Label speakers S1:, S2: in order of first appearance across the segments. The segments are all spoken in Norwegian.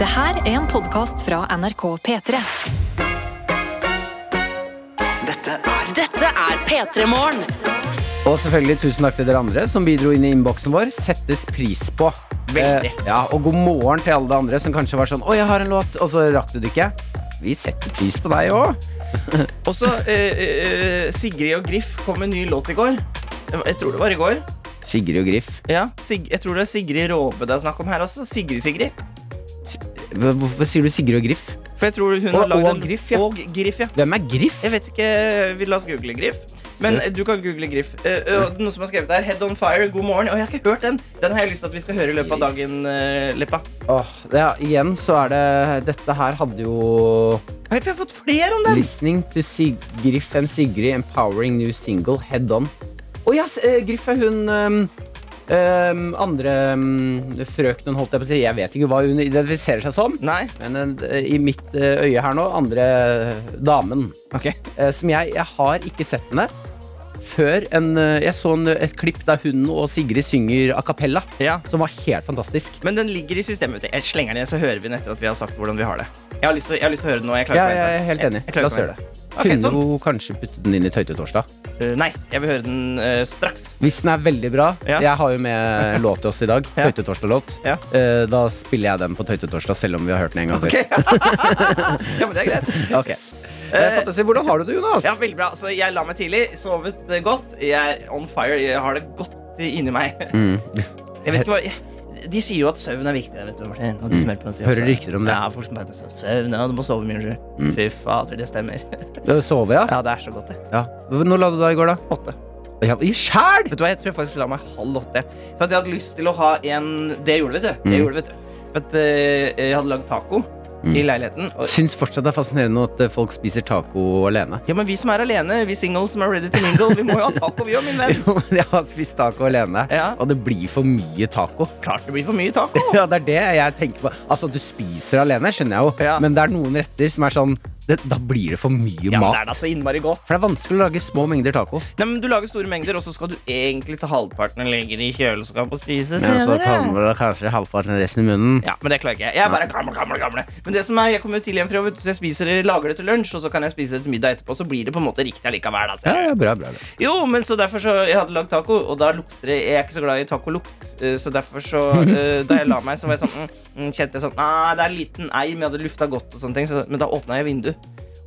S1: Det her er en podkast fra NRK P3.
S2: Dette er
S3: Dette er P3 Morgen.
S4: Og selvfølgelig tusen takk til dere andre som bidro inn i innboksen vår. Settes pris på.
S5: Veldig.
S4: Eh, ja, og god morgen til alle de andre som kanskje var sånn Å, jeg har en låt, og så rakk du det ikke. Vi setter pris på deg òg.
S5: Også eh, eh, Sigrid og Griff kom med en ny låt i går. Jeg tror det var i går.
S4: Sigrid og Griff.
S5: Ja, Sig jeg tror det er Sigrid Råbe det er snakk om her også. Sigrid Sigrid.
S4: Hva- Hvorfor sier du Sigrid og Griff?
S5: For jeg tror hun
S4: Og-
S5: har lagd
S4: og Griff, ja.
S5: Og Griff, ja.
S4: Hvem er Griff?
S5: Jeg vet ikke, vi la oss google Griff. Men eh, du kan google Griff. Eh, eh, og noen som har skrevet her, Head on fire, god morgen. Og jeg har ikke hørt den. Den har jeg lyst til at vi skal høre i løpet av dagen, eh, Leppa.
S4: Åh, ja, igjen så er det Dette her hadde jo
S5: Hei, for jeg har fått flere om den!
S4: Listening to Sig Griff and Sigrid Empowering New Single Head On. Å ja, s- eh, Griff er hun ehm, ehm, andre ehm, frøkenen, holdt jeg på å si. Jeg vet ikke hva hun identifiserer seg som.
S5: Nei.
S4: Men eh, i mitt eh, øye her nå, andre eh, damen.
S5: Ok.
S4: eh, Som jeg, jeg har ikke sett henne før en, eh, jeg så en, et klipp der hun og Sigrid synger a cappella.
S5: Ja.
S4: Som var helt fantastisk.
S5: Men den ligger i systemet. vet du. Jeg slenger den igjen, så hører vi den etter at vi har sagt hvordan vi har det. Jeg har lyst til, jeg har lyst til å høre den nå. Jeg klarer
S4: Ja,
S5: ikke å
S4: jeg
S5: vente.
S4: er helt enig.
S5: jeg klarer
S4: La
S5: ikke
S4: oss
S5: å
S4: gjøre
S5: vente.
S4: det.
S5: Ok,
S4: Kunne
S5: sånn.
S4: jo kanskje puttet den inn i Tøytetorsdag.
S5: Eh, nei, jeg vil høre den eh, straks.
S4: Hvis den er veldig bra
S5: Ja.
S4: Jeg har jo med låt til oss i dag.
S5: Ja.
S4: Tøytetorsdag-låt.
S5: Ja.
S4: Eh, Da spiller jeg den på Tøytetorsdag, selv om vi har hørt den en gang før.
S5: Ok. ja, men det er greit.
S4: Ok. Eh, Fantasi, hvordan har du det, Jonas?
S5: Ja, veldig bra. Så jeg la meg tidlig, sovet eh, godt. Jeg er on fire. Jeg har det godt inni meg.
S4: Mm.
S5: Jeg vet ikke hva jeg- De sier jo at søvn er viktig. Vet du, Martin, og du
S4: Mm.
S5: som hjelper meg å si
S4: Hører
S5: også.
S4: rykter om det.
S5: Ja, folk som bare sier søvn, ja, du må sove mye. Sjur».
S4: Mm.
S5: Fy fader, det stemmer.
S4: Eh, Sover jeg?
S5: Ja, det er så godt, det.
S4: Ja. Når la du deg i går, da?
S5: Åtte.
S4: Ja, I sjæl!
S5: Vet du hva, jeg tror jeg faktisk la meg halv åtte. For at jeg hadde lyst til å ha en Det gjorde, vet du. Det
S4: Mm.
S5: gjorde, vet du. For at eh, jeg hadde lagd taco
S4: Mm.
S5: i leiligheten. Og,
S4: Syns fortsatt det er fascinerende at eh, folk spiser taco alene.
S5: ja, men vi som er alene, vi singles som er ready to mingle, vi må jo ha taco, vi òg, min venn.
S4: Jo, men Jeg har spist taco alene,
S5: Ja.
S4: og det blir for mye taco.
S5: Klart det blir for mye taco.
S4: Ja, det er det jeg tenker på. Altså, du spiser alene, skjønner jeg jo,
S5: Ja.
S4: men det er noen retter som er sånn det, Da blir det for mye
S5: Ja, men det
S4: mat.
S5: er da så innmari godt.
S4: For det er vanskelig å lage små mengder taco.
S5: Nei, men Du lager store mengder, og så skal du egentlig ta halvparten og legge det i kjøleskapet og
S4: Men
S5: spise
S4: så
S5: senere.
S4: tar man kanskje halvparten av resten i munnen.
S5: Ja, men det klarer ikke jeg. Jeg er bare gammel, gammel, gammel. Men det som er, jeg kommer jo tidlig hjem fra jobb, så jeg spiser, lager det til lunsj, og så kan jeg spise det til middag etterpå, så blir det på en måte riktig allikevel.
S4: Ja,
S5: Altså.
S4: ja, bra, bra, bra.
S5: Jo, men så derfor så Jeg hadde lagd taco, og da lukter det Jeg er ikke så glad i tacolukt, eh, så derfor så eh, Da jeg la meg, så var jeg sånn mm, mm, Kjente jeg sånn Nei, det er en liten eim, jeg hadde lufta godt og sånne ting, så, men da åpna jeg vinduet.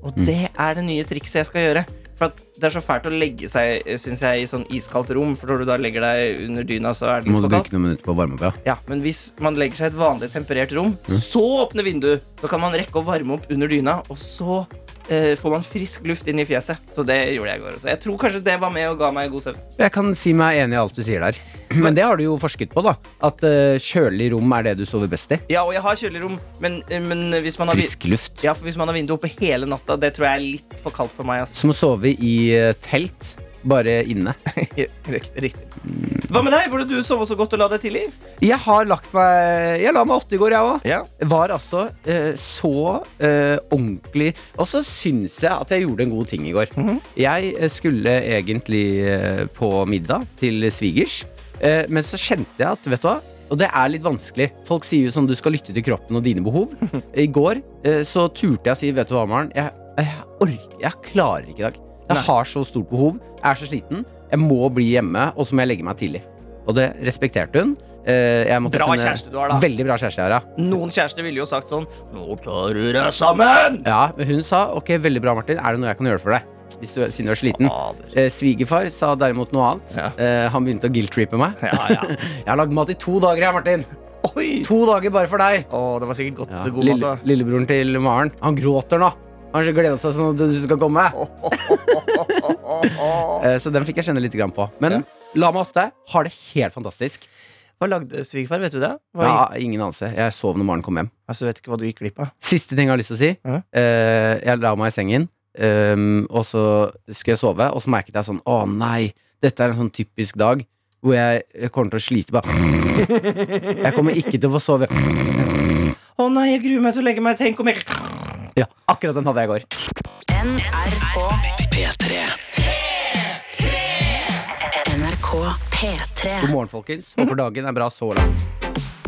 S5: Og
S4: Mm.
S5: det er det nye trikset jeg skal gjøre. For at det er så fælt å legge seg eh, synes jeg, i sånn iskaldt rom, for når du da legger deg under dyna, så er det
S4: Må
S5: litt
S4: du
S5: for kaldt.
S4: bruke noen minutter på å varme opp, ja.
S5: Ja, men hvis man legger seg i et vanlig temperert rom,
S4: Mm.
S5: så åpner vinduet. Så kan man rekke å varme opp under dyna, og så eh, får man frisk luft inn i fjeset. Så det gjorde jeg i går også. Jeg tror kanskje det var med og ga meg god søvn.
S4: Jeg kan si meg enig i alt du sier der. Men det har du jo forsket på, da. At eh, kjølig rom er det du sover best i.
S5: Ja, og jeg har kjølig rom, men, eh, men hvis, man har vi-
S4: Frisk luft.
S5: ja, for hvis man har vinduet oppe hele natta, det tror jeg er litt for kaldt for meg. Ass.
S4: Som å sove i eh, telt, bare inne.
S5: Riktig. riktig.
S4: Mm.
S5: Hva med deg? Hvordan du sov så godt og la deg tidlig?
S4: Jeg har lagt meg Jeg la meg åtte i går, jeg òg.
S5: Ja.
S4: Var altså eh, så eh, ordentlig Og så syns jeg at jeg gjorde en god ting i går.
S5: Mhm.
S4: Jeg eh, skulle egentlig eh, på middag til svigers, eh, men så kjente jeg at Vet du hva? Og det er litt vanskelig. Folk sier jo sånn du skal lytte til kroppen og dine behov. I går eh, så turte jeg å si Vet du hva, Maren? Jeg, jeg orker Jeg klarer ikke i dag. Jeg
S5: Nei.
S4: har så stort behov. Jeg er så sliten. Jeg må bli hjemme, og så må jeg legge meg tidlig. Og det respekterte hun. Eh, Jeg måtte
S5: Bra
S4: sende-
S5: kjæreste du har, da.
S4: Veldig bra kjæreste jeg har, ja.
S5: Noen kjærester ville jo sagt sånn Nå tar du deg sammen!
S4: Ja, men hun sa ok, veldig bra, Martin. Er det noe jeg kan gjøre for deg? Hvis du, siden du er sliten.
S5: Fader.
S4: Eh, svigerfar sa derimot noe annet.
S5: Ja.
S4: Eh, han begynte å guilt-trippe meg.
S5: Ja, ja.
S4: Jeg har lagd mat i to dager, jeg, Martin.
S5: Oi!
S4: To dager bare for deg.
S5: Å, det var sikkert godt.
S4: Ja,
S5: God mat,
S4: lille,
S5: da.
S4: lillebroren til Maren, han gråter nå. Han har gleda seg sånn at du skal komme. Eh, så den fikk jeg kjenne litt grann på. Men la meg åtte. Har det helt fantastisk.
S5: Hva lagde svigerfar? Vet du det? Hva
S4: Ja, ingen anelse. Jeg sov når Maren kom hjem.
S5: Altså, du vet ikke hva du gikk glipp av?
S4: Siste ting jeg har lyst til å si.
S5: Ja.
S4: Eh, jeg la meg i sengen, ehm, og så skulle jeg sove, og så merket jeg sånn Å nei, dette er en sånn typisk dag hvor jeg jeg kommer til å slite bare Jeg kommer ikke til å få sove.
S5: Å nei, jeg gruer meg til å legge meg. Tenk om jeg
S4: Ja, akkurat den hadde jeg i går.
S3: NRK
S2: P3
S3: NRK P3.
S4: God morgen, folkens. Håper dagen er bra så langt.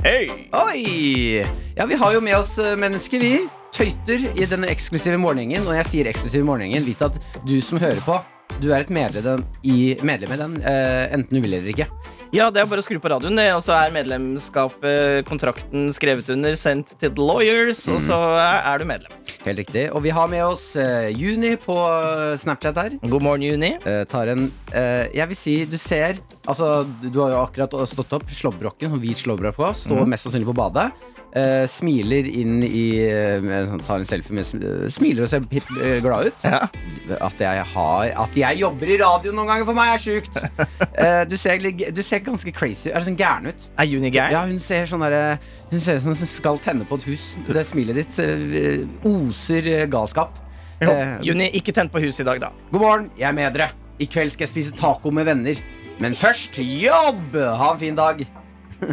S5: Hei!
S4: Oi! Ja, vi har jo med oss eh, mennesker, vi. Tøyter i denne eksklusive morgenen. Og når jeg sier eksklusive morgenen, vit at du som hører på, du er et medlem i, medlem i den, eh, enten du vil eller ikke.
S5: Ja, det er bare å skru på radioen, det. Og så er medlemskapet, kontrakten skrevet under, sendt til the lawyers, og så
S4: Mm.
S5: er, er du medlem.
S4: Helt riktig. Og vi har med oss eh, Juni på eh, Snapchat her.
S5: God morgen, Juni.
S4: Eh, Taren, eh, jeg vil si du ser Altså, du du har jo akkurat stått opp. Slåbroken, sånn hvit slåbrok på, står mest sannsynlig på badet. eh, smiler inn i eh, med- sånn, Tar en selfie med sm- eh, Smiler og ser pip, eh, glad ut.
S5: Ja.
S4: At, jeg har, at jeg jobber i radio noen ganger, for meg er sjukt! Eh, du, ser, litt- du ser ganske crazy Er det sånn gæren ut.
S5: Er Juni gæren?
S4: Ja, hun ser sånn derre Hun ser ut som hun skal tenne på et hus. Det smilet ditt eh, oser eh, galskap. Eh,
S5: Juni, ikke tent på huset i dag, da.
S4: God morgen, jeg er med dere. I kveld skal jeg spise taco med venner. Men først jobb! Ha en fin dag.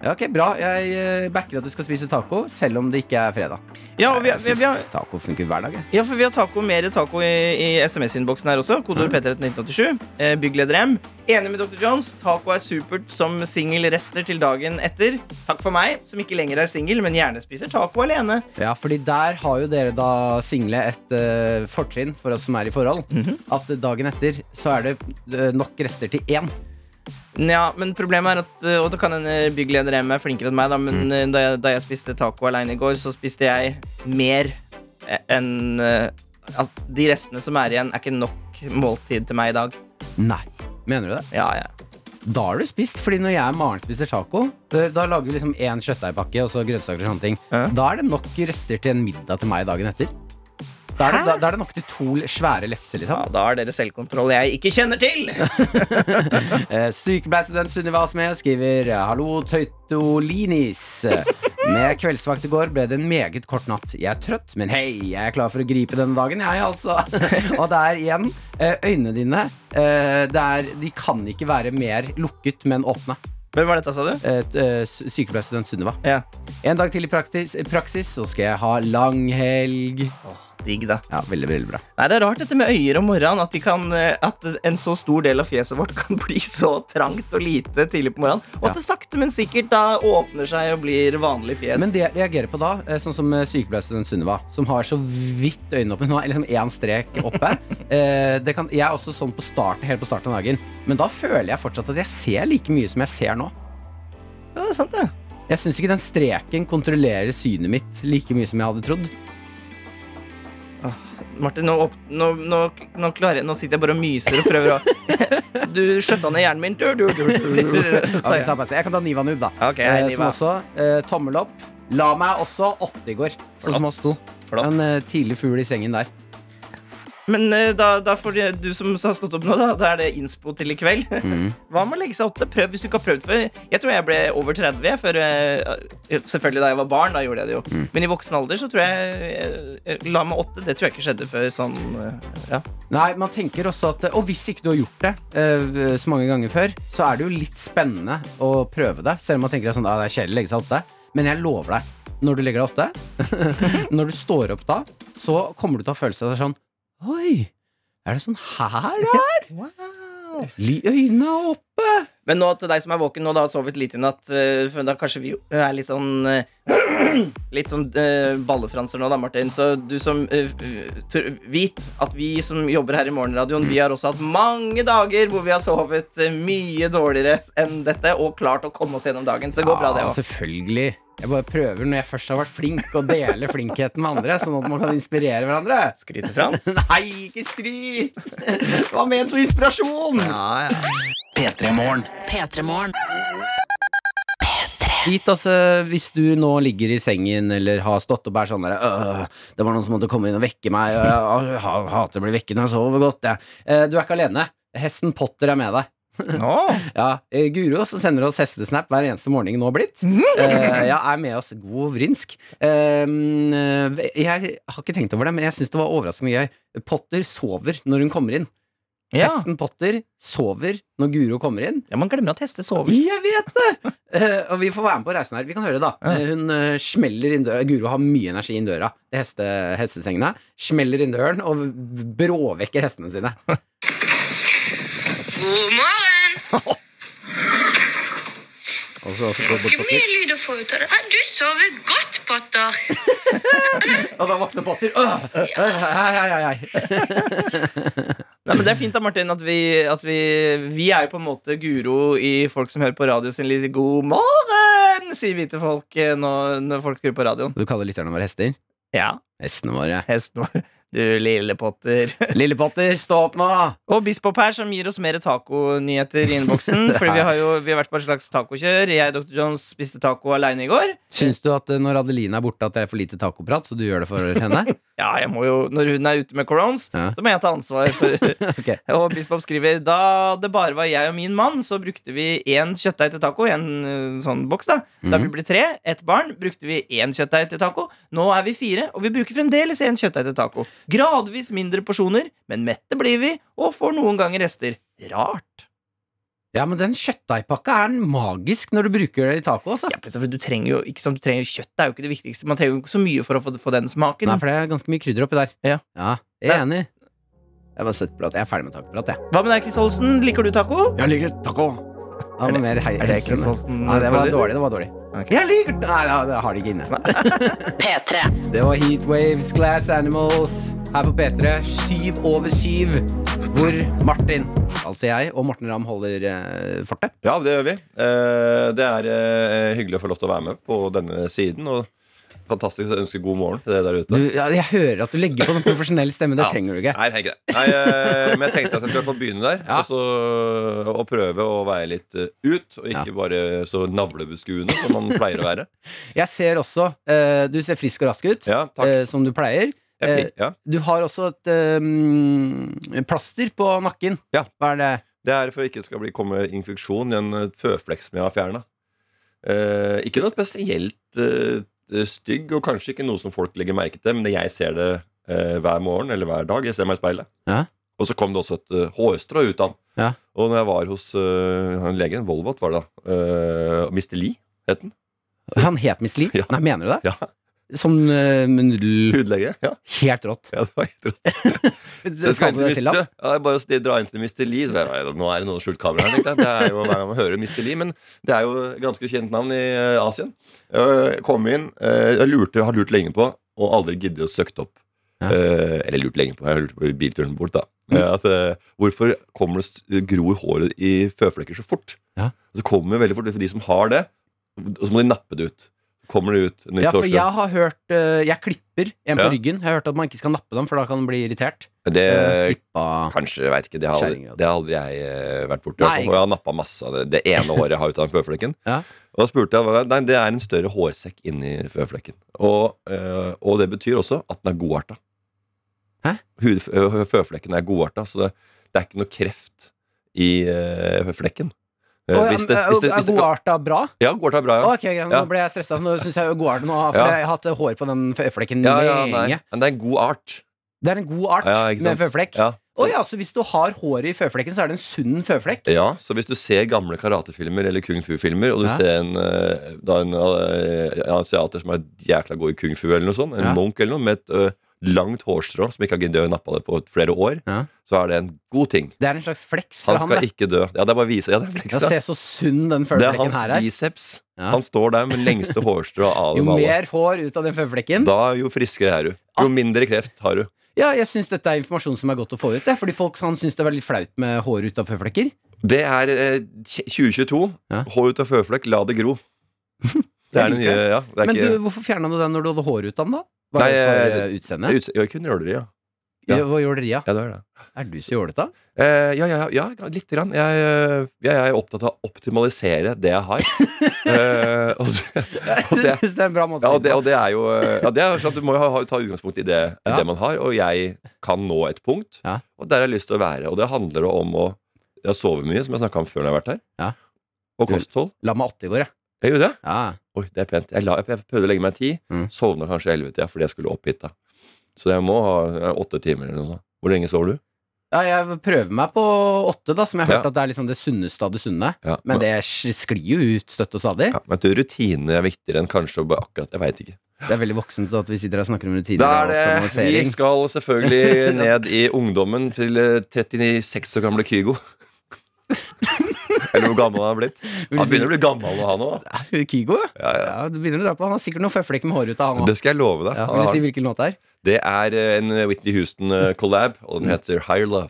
S4: ja, ok, Bra. Jeg eh, backer at du skal spise taco, selv om det ikke er fredag.
S5: Ja, og vi,
S4: Jeg
S5: vi, vi har,
S4: synes Taco funker hver dag. jeg.
S5: ja for vi har taco, mer taco i, i SMS-innboksen her også. Kodeord P3 til 1987. Eh, Byggleder M. Enig med Dr. Jones. Taco er supert som singelrester til dagen etter. Takk for meg, som ikke lenger er singel, men gjerne spiser taco alene.
S4: Ja, fordi Der har jo dere da single et eh, fortrinn for oss som er i forhold.
S5: Mhm.
S4: At dagen etter så er det eh, nok rester til én.
S5: Ja, men problemet er at eh, Og det kan hende byggleder M er flinkere enn meg, da, men eh, da, jeg, da jeg spiste taco alene i går, så spiste jeg mer eh, enn eh, Altså, de restene som er igjen, er ikke nok måltid til meg i dag.
S4: Nei. Mener du det?
S5: Ja, ja.
S4: Da har du spist. fordi når jeg og Maren spiser taco, da da lager vi liksom én kjøttdeigpakke og så grønnsaker og sånne ting.
S5: Ja.
S4: Da er det nok rester til en middag til meg dagen etter. Da er det, da, da er det nok til to l- svære lefser,
S5: ja
S4: liksom.
S5: da har dere selvkontroll jeg ikke kjenner til!
S4: Eh, Sykepleierstudent Sunniva Asmed skriver eh, Hallo, Tøytolinis. Med kveldsvakt i går ble det en meget kort natt. Jeg er trøtt, men hei, jeg er klar for å gripe denne dagen, jeg, altså. Og det er igjen eh, øynene dine. eh, Det er, de kan ikke være mer lukket, men åpne.
S5: Hvem var dette, sa du?
S4: Eh, t- eh, sy- Sykepleierstudent Sunniva.
S5: Ja.
S4: En dag til i praktis, praksis, så skal jeg ha langhelg.
S5: Digg, da.
S4: Ja, veldig, veldig bra.
S5: Nei, Det er rart dette med øyer om morgenen. At, de kan, eh, at en så stor del av fjeset vårt kan bli så trangt og lite tidlig på morgenen. Og
S4: Ja.
S5: at det sakte, men sikkert da åpner seg og blir vanlig fjes.
S4: Men det jeg reagerer på da, eh, sånn som eh, sykepleierstudent Sunniva, som har så vidt øynene oppe. Hun har liksom én strek oppe. Eh, Det kan, jeg er også sånn på starten, helt på starten av dagen. Men da føler jeg fortsatt at jeg ser like mye som jeg ser nå.
S5: Ja, det er sant, det.
S4: Jeg syns ikke den streken kontrollerer synet mitt like mye som jeg hadde trodd.
S5: Martin, nå, opp, nå, nå, nå, klarer jeg, nå sitter jeg bare og myser og prøver å Du skjøtta ned hjernen min. Du, du, du, du, du.
S4: Så
S5: Sa
S4: jeg,
S5: jeg.
S4: tar på meg- jeg kan ta Nivan ut, da.
S5: Ok,
S4: Eh,
S5: hei,
S4: Som
S5: Niva.
S4: også eh, tommel opp. La meg også åtte i går, sånn som oss to.
S5: Flott.
S4: En eh, tidlig fugl i sengen der.
S5: Men eh, da, da får du- du som har stått opp nå, da, da er det innspo til i kveld. Hva med å legge seg åtte? Prøv hvis du ikke har prøvd før. Jeg tror jeg ble over 30 jeg, før eh, Selvfølgelig da jeg var barn, da gjorde jeg det jo. Men i voksen alder så tror jeg eh, La meg åtte. Det tror jeg ikke skjedde før sånn eh, Ja.
S4: Nei, man tenker også at eh, Og hvis ikke du har gjort det eh, så mange ganger før, så er det jo litt spennende å prøve det. Selv om man tenker at sånn, ah, det er kjedelig å legge seg åtte. Men jeg lover deg, når du legger deg åtte, når du står opp da, så kommer du til å ha følelse av det sånn Oi, er det sånn her det er? Ly- Øynene er oppe.
S5: Men nå til deg som er våken nå, da har sovet lite i natt. eh, For da kanskje vi jo er litt sånn eh, Litt sånn eh, ballefranser nå, da, Martin. Så du som eh, tør- Vit at vi som jobber her i Morgenradioen, vi har også hatt mange dager hvor vi har sovet eh, mye dårligere enn dette, og klart å komme oss gjennom dagen. Så det går bra, det
S4: Ja,
S5: òg.
S4: Selvfølgelig. Jeg bare prøver når jeg først har vært flink, å dele flinkheten med andre, sånn at man kan inspirere hverandre.
S5: Skryter Frans.
S4: Nei, ikke skryt! Det var ment som inspirasjon!
S5: Ja, ja.
S2: P3 Morgen.
S3: P3 Morgen.
S4: Hit, altså, hvis du nå ligger i sengen eller har stått opp og er sånn der «Øh, Det var noen som måtte komme inn og vekke meg, og jeg, jeg ha- hater å bli vekket når jeg sover godt, jeg. Eh, Du er ikke alene. Hesten Potter er med deg. Ja, eh, Guro, som sender oss hestesnap hver eneste morgen nå blitt, eh, ja, er med oss. God vrinsk. Eh, eh, jeg har ikke tenkt over det, men jeg syns det var overraskende gøy. Potter sover når hun kommer inn.
S5: Ja.
S4: Hesten Potter sover når Guro kommer inn.
S5: ja, man glemmer at hester sover.
S4: Jeg vet det! Eh, og vi får være med på reisen her. Vi kan høre det, da. Eh, hun eh, smeller inn døra. Guro har mye energi inn døra til heste, hestesengene. Smeller inn døren og bråvekker hestene sine.
S6: God morgen!
S4: Og så også gå bort
S6: Ikke
S4: Potter.
S6: mye lyd å få ut av det. Hæ, Du sover godt, Potter.
S4: Og da våkner Potter. Åh! Hei, hei, hei, hei.
S5: Nei, men Det er fint da, Martin, at vi, at vi Vi er jo på en måte guro i folk som hører på radio sin lille god morgen, sier vi til folk eh, når, når folk skrur på radioen.
S4: Du kaller lytterne våre hester?
S5: Ja,
S4: Hestene våre.
S5: hesten vår. Du lille potter.
S4: Lille Potter, stå opp nå!
S5: Og Biskop her, som gir oss mer taconyheter i innboksen. Fordi vi har jo vi har vært på et slags tacokjør. Jeg, Dr. Jones, spiste taco alene i går.
S4: Syns du at eh, når Adeline er borte, at det er for lite tacoprat, så du gjør det for henne?
S5: Ja, jeg må jo, Når hun er ute med corones,
S4: Ja.
S5: så må jeg ta ansvar. for
S4: Ok.
S5: Og Biskop skriver da det bare var jeg og min mann, så brukte vi én kjøttdeig til taco. i En øh, sånn boks Da Da
S4: Mhm.
S5: vi ble tre, ett barn, brukte vi én kjøttdeig til taco. Nå er vi fire, og vi bruker fremdeles én kjøttdeig til taco. Gradvis mindre porsjoner, men mette blir vi, og får noen ganger rester. Rart.
S4: Ja, men den kjøttdeigpakka er magisk når du bruker det i taco, altså.
S5: Ja, for Du trenger jo ikke sant, du trenger kjøtt, det er jo ikke det viktigste. Man trenger jo ikke så mye for å få, få den smaken.
S4: Nei, for det er ganske mye krydder oppi der.
S5: Ja.
S4: jeg er enig. Jeg har bare sett prat. Jeg er ferdig med tacoprat, jeg.
S5: Hva med deg, Chris Olsen? Liker du taco?
S4: Jeg liker taco. Ja, men mer hei,
S5: Er det Chris
S4: hestene.
S5: Olsen?
S4: Nei, det var dårlig. Det var dårlig.
S5: Ok.
S4: Jeg liker Nei, nei, det har de ikke inne.
S3: P3.
S4: Det var Heatwaves Glass Animals her på P3, syv over syv, hvor Martin, altså jeg, og Morten Ramm holder eh, fortet.
S7: Ja, det gjør vi. Eh, Det er eh, hyggelig å få lov til å være med på denne siden. Og fantastisk å ønske god morgen til dere der
S4: Du,
S7: ute.
S4: ja, jeg hører at du legger på sånn profesjonell stemme. Det
S7: Ja.
S4: trenger du ikke.
S7: Nei, jeg tenker det. Nei, eh, men jeg tenkte at jeg skulle få begynne der.
S4: Ja.
S7: Og så og prøve å være litt eh, ut, og ikke bare så navlebeskuende som man pleier å være.
S4: Jeg ser også eh, Du ser frisk og rask ut,
S7: Ja, takk.
S4: eh, som du pleier. Eh,
S7: Jeg fikk, ja.
S4: Du har også et eh, plaster på nakken.
S7: Ja.
S4: Hva er det?
S7: Det er for at det ikke skal bli, komme infeksjon i en eh, føflekk som jeg har fjerna. ikke noe spesielt eh, stygg, og kanskje ikke noe som folk legger merke til, men det- jeg ser det eh, hver morgen eller hver dag. Jeg ser meg i speilet.
S4: Ja.
S7: Og så kom det også et eh, hårstrå ut av den.
S4: Ja.
S7: Og når jeg var hos eh, han legen, Volvat var det da, eh, Mr. Lee het den.
S4: Han het Miss Lee?
S7: Ja.
S4: Nei, mener du det?
S7: Ja.
S4: Som eh, med nudel
S7: Hudlege. Ja,
S4: Helt rått.
S7: ja det var helt rått. Så jeg
S4: Sa
S7: skal
S4: du det
S7: inn
S4: til
S7: til
S4: ham?
S7: Mr. Ja, jeg bare sti- dra inn til Mr. Lee. Så bare, "Nei, nå er det noe skjult kamera her. tenkte jeg. Det er jo hver gang man hører Mr. Lee, men det er jo et ganske kjent navn i eh, Asien. Eh, Jeg kom inn, eh, jeg lurte, har lurt lenge på, og aldri giddet å søkt opp.
S4: Ja. Mm.
S7: Eh, Eller lurt lenge på, jeg lurte på i bilturen bort da. Eh, At, eh, hvorfor kommer det s- gror håret i føflekker så fort?
S4: Ja.
S7: Og Det kommer veldig fort, for de som har det, og så må de nappe det ut. Kommer det ut nytt
S4: Ja, for
S7: årsdag.
S4: jeg har hørt eh, Jeg klipper en på
S7: Ja. Eh,
S4: ryggen. Jeg har hørt at man ikke skal nappe dem, for da kan den bli irritert. Eh,
S7: Det
S4: Klippa
S7: Kanskje, jeg vet ikke, det har,
S4: Kjerringer,
S7: aldri- det har aldri jeg eh, vært borti. i
S4: Nei,
S7: hvert fall.
S4: ikke
S7: Og jeg har nappa masse av det, det ene håret jeg har ut av den føflekken.
S4: Ja.
S7: Og da spurte jeg hva- Nei, det er en større hårsekk inni føflekken. Og, eh, og det betyr også at den er godarta.
S4: Hæ?
S7: Hud, ø, føflekken er godarta, så det, det er ikke noe kreft i eh, flekken. Eh,
S4: Å, ja,
S7: hvis det-
S4: men,
S7: hvis det- hvis
S4: Er
S7: det-
S4: godarta bra?
S7: Ja, godarta er bra, ja.
S4: Ok, greit,
S7: Ja.
S4: Nå ble jeg stressa. Nå syns jeg godarta nå For
S7: Ja.
S4: jeg har hatt hår på den føflekken
S7: ja, ja nei.
S4: lenge.
S7: Men det er en god art.
S4: Det er en god art
S7: Ja, ikke
S4: med
S7: sant?
S4: føflekk. Å
S7: Ja. Så,
S4: ja, så hvis du har håret i føflekken, så er det en sunn føflekk?
S7: Ja, så hvis du ser gamle karatefilmer eller kung fu-filmer, og du
S4: Ja.
S7: ser en, eh, da en eh, asiater som er jækla god i kung fu, eller noe sånt, en
S4: Ja.
S7: munk eller noe, med et eh, langt hårstrå som ikke har giddet å nappe det på flere år,
S4: Ja.
S7: så er det en god ting.
S4: Det er en slags fleks fra
S7: Han
S4: han.
S7: skal
S4: det.
S7: ikke dø. Ja, det er bare å vise. Ja, det er
S4: Ja,
S7: fleksa.
S4: se så sunn den
S7: Det er
S4: føflekken
S7: hans
S4: her er.
S7: biceps.
S4: Ja.
S7: Han står der med lengste hårstrå av
S4: Jo
S7: dem alle.
S4: mer Ah. hår ut av den føflekken,
S7: Da jo friskere er du. Jo mindre kreft har du.
S4: Ja, jeg syns dette er informasjon som er godt å få ut. Det, fordi folk kan synes det er litt flaut med hår ut av føflekker.
S7: Det er eh, 2022.
S4: Ja.
S7: Hår ut av føflekk, la det gro. Det er den nye, ja. Det er
S4: Men du,
S7: ikke,
S4: hvorfor fjerna du den når du hadde hår ut av den, da? Var
S7: Nei,
S4: det for
S7: eh,
S4: eh,
S7: det er
S4: utseende?
S7: utse- ja, kun jåleri, ja. ja.
S4: Ja. Hva gjorde dere?
S7: Ja, det er det.
S4: Ja? Er du så jålete?
S7: Eh, ja, ja, ja, ja, lite grann. Jeg, eh, jeg er opptatt av å optimalisere det jeg har. eh, og, og,
S4: Jeg
S7: det,
S4: synes det er en bra måte
S7: ja,
S4: å
S7: og,
S4: si
S7: det,
S4: det på.
S7: og det er jo eh, ja, det er jo sånn at Du må jo ha, ha- ta utgangspunkt i det, i
S4: Ja.
S7: det man har, og jeg kan nå et punkt.
S4: Ja.
S7: Og der har jeg lyst til å være. Og det handler jo om å jeg sover mye, som jeg snakka om før når jeg har vært her.
S4: Ja.
S7: Og kosthold.
S4: La meg 80 i går, jeg.
S7: Jeg gjorde det.
S4: Ja.
S7: Oi, det er pent. Jeg, la, jeg prøvde å legge meg ti.
S4: Mm.
S7: Sovna kanskje elleve til fordi jeg skulle opp hit. da Så jeg må ha eh, åtte timer eller noe sånt. Hvor lenge sover du?
S4: ja, jeg prøver meg på 8, da, som jeg har hørt
S7: Ja.
S4: at det er liksom det sunneste av det sunne.
S7: Ja,
S4: Men det sklir jo ut støtt og stadig.
S7: Ja, men at Rutinene er viktigere enn kanskje å bare akkurat Jeg veit ikke.
S4: Det er veldig voksent at vi sitter her og snakker om rutiner
S7: Da
S4: og
S7: er det Vi
S4: optimalisering.
S7: skal selvfølgelig ned i ungdommen til eh, 36 år gamle Kygo. Eller hvor gammel han er blitt.
S4: Vil du
S7: Han
S4: si-
S7: begynner å bli gammel, og han òg.
S4: Er det Kygo, ja.
S7: Ja, ja.
S4: ja. Du begynner å dra på. Han har sikkert noen føflekker med hår ut av han
S7: Det
S4: òg.
S7: skal jeg love deg.
S4: Ja,
S7: Han
S4: vil du
S7: har-
S4: si hvilken låt det er?
S7: Det er eh, en Whitney Houston-collab, og
S4: Mm.
S7: den heter Higher Love.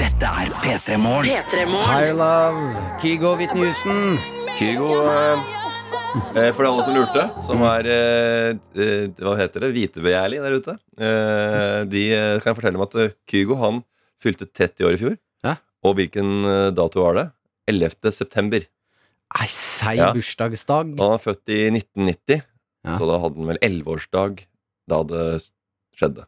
S2: Dette er P3 Morgen.
S3: P3morgen.
S4: High Love, Kygo Whitney Houston.
S7: Kygo, eh, eh, for alle som lurte, som
S4: Mm.
S7: er eh, eh, Hva heter det? Hvitebegjærlig der ute. Eh, de eh, kan jeg fortelle om at eh, Kygo han fylte 30 år i fjor.
S4: Ja.
S7: Og hvilken eh, dato var det? 11. september.
S4: Ei seig
S7: Ja.
S4: bursdagsdag.
S7: Og han er født i 1990,
S4: Ja.
S7: så da hadde han vel 11-årsdag da det skjedde.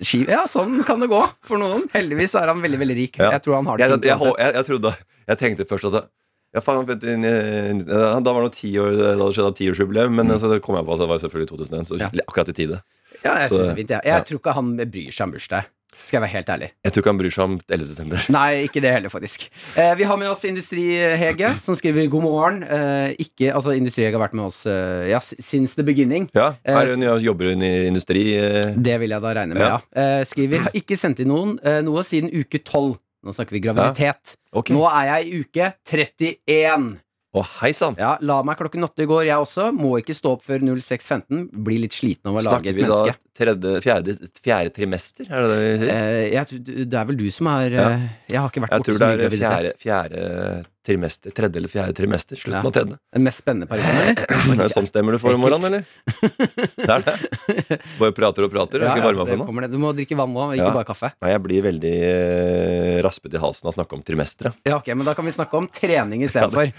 S4: Ski- Ja, sånn kan det gå for noen. Heldigvis så er han veldig, veldig rik.
S7: Ja.
S4: Jeg tror han har det
S7: Jeg, jeg,
S4: fint
S7: jeg,
S4: uansett.
S7: jeg, trodde Jeg tenkte først at ja, faen, han fødte i ni- ni- ja, Da var det jo ti år Da det skjedde tiårsjubileum, men så kom jeg på at det var selvfølgelig 2001. Så
S4: Mm. Ja.
S7: akkurat i tide.
S4: Ja, jeg
S7: Så-
S4: synes det er fint, ja.
S7: ja.
S4: Jeg tror ikke han bryr seg om bursdag. Skal jeg være helt ærlig.
S7: Jeg tror ikke han bryr seg om 11. september.
S4: Nei, ikke det heller, faktisk. Eh, vi har med oss Industri-Hege, som skriver 'God morgen'. Eh, ikke, altså, Industri-Hege har vært med oss eh, ja, since the beginning.
S7: Ja,
S4: Eh,
S7: her hun, ja, jobber hun i industri. eh,
S4: Det vil jeg da regne med, ja.
S7: Ja.
S4: Eh, skriver har ikke sendt inn noen eh, noe siden uke 12. Nå snakker vi graviditet.
S7: Ok.
S4: Nå er jeg i uke 31.
S7: Å, hei sann!
S4: Ja, La meg klokken åtte i går, jeg også. Må ikke stå opp før 06.15. Blir litt sliten av å lage
S7: Snakker
S4: et
S7: vi da
S4: menneske.
S7: tredje, fjerde, fjerde trimester? Er det det vi sier?
S4: Eh, jeg, tror- det er vel du som er
S7: Ja.
S4: eh, Jeg har ikke vært
S7: Jeg
S4: borti så
S7: tror det
S4: mye
S7: er fjerde,
S4: graviditet.
S7: fjerde trimester. Tredje eller fjerde trimester.
S4: Ja.
S7: Slutten av tredje.
S4: Den mest spennende perioden.
S7: Er det sånn stemmer du får om morgenen, eller? Det er det. Bare prater og prater.
S4: Ja,
S7: og ikke
S4: ja,
S7: varme opp
S4: det
S7: ennå.
S4: kommer det. Du må drikke vann nå, ikke
S7: Ja.
S4: bare kaffe.
S7: Nei, jeg blir veldig eh, raspet i halsen av å snakke om trimestre.
S4: Ja, ok, Men da kan vi snakke om trening istedenfor.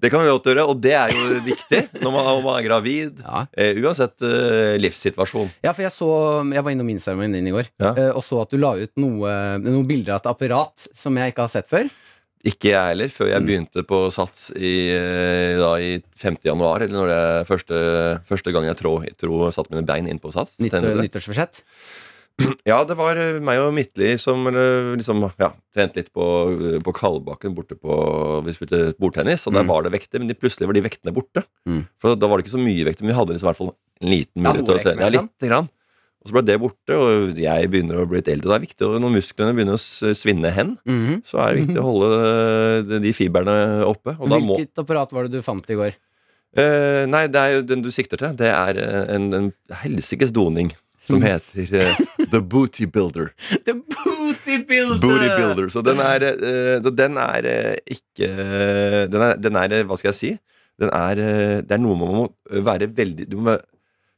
S7: Det kan vi godt gjøre, og det er jo viktig når man, om man er gravid.
S4: Ja.
S7: Eh, uansett eh, livssituasjon.
S4: ja, for jeg så Jeg var innom Instagramen din i går
S7: Ja.
S4: eh, og så at du la ut noe, noen bilder av et apparat som jeg ikke har sett før.
S7: Ikke jeg heller, før jeg
S4: Mm.
S7: begynte på Sats i, eh, da, i 5. januar, eller når det er første, første gang jeg trå, jeg tro satt mine bein inn på Sats.
S4: Nytt,
S7: 1000.
S4: nyttårsforsett.
S7: Ja, det var eh, meg og Midtli som eh, liksom, ja, trente litt på, på Kalbakken borte på Vi spilte bordtennis, og der
S4: Mm.
S7: var det vekter, men de, plutselig var de vektene borte.
S4: Mm.
S7: For da var det ikke så mye vekter, men vi hadde liksom, i hvert fall en liten
S4: Ja,
S7: mulighet til å
S4: hovedvekt,
S7: trene. Ja,
S4: liksom.
S7: lite grann. Og så ble det borte, og jeg begynner å bli litt eldre. og Det er viktig, og når musklene begynner å s- svinne hen,
S4: Mhm.
S7: så er det viktig å holde eh, de- de fiberne oppe. Og da må
S4: Hvilket apparat var det du fant i går?
S7: Eh, Nei, det er jo den du sikter til. Det er eh, en, en helsikes doning som heter eh, The Booty Builder.
S4: The booty builder!
S7: Booty Builder. Så den er, eh, så den er eh, ikke den er, den er eh, Hva skal jeg si? Den er, eh, det er noe man må være veldig Du må,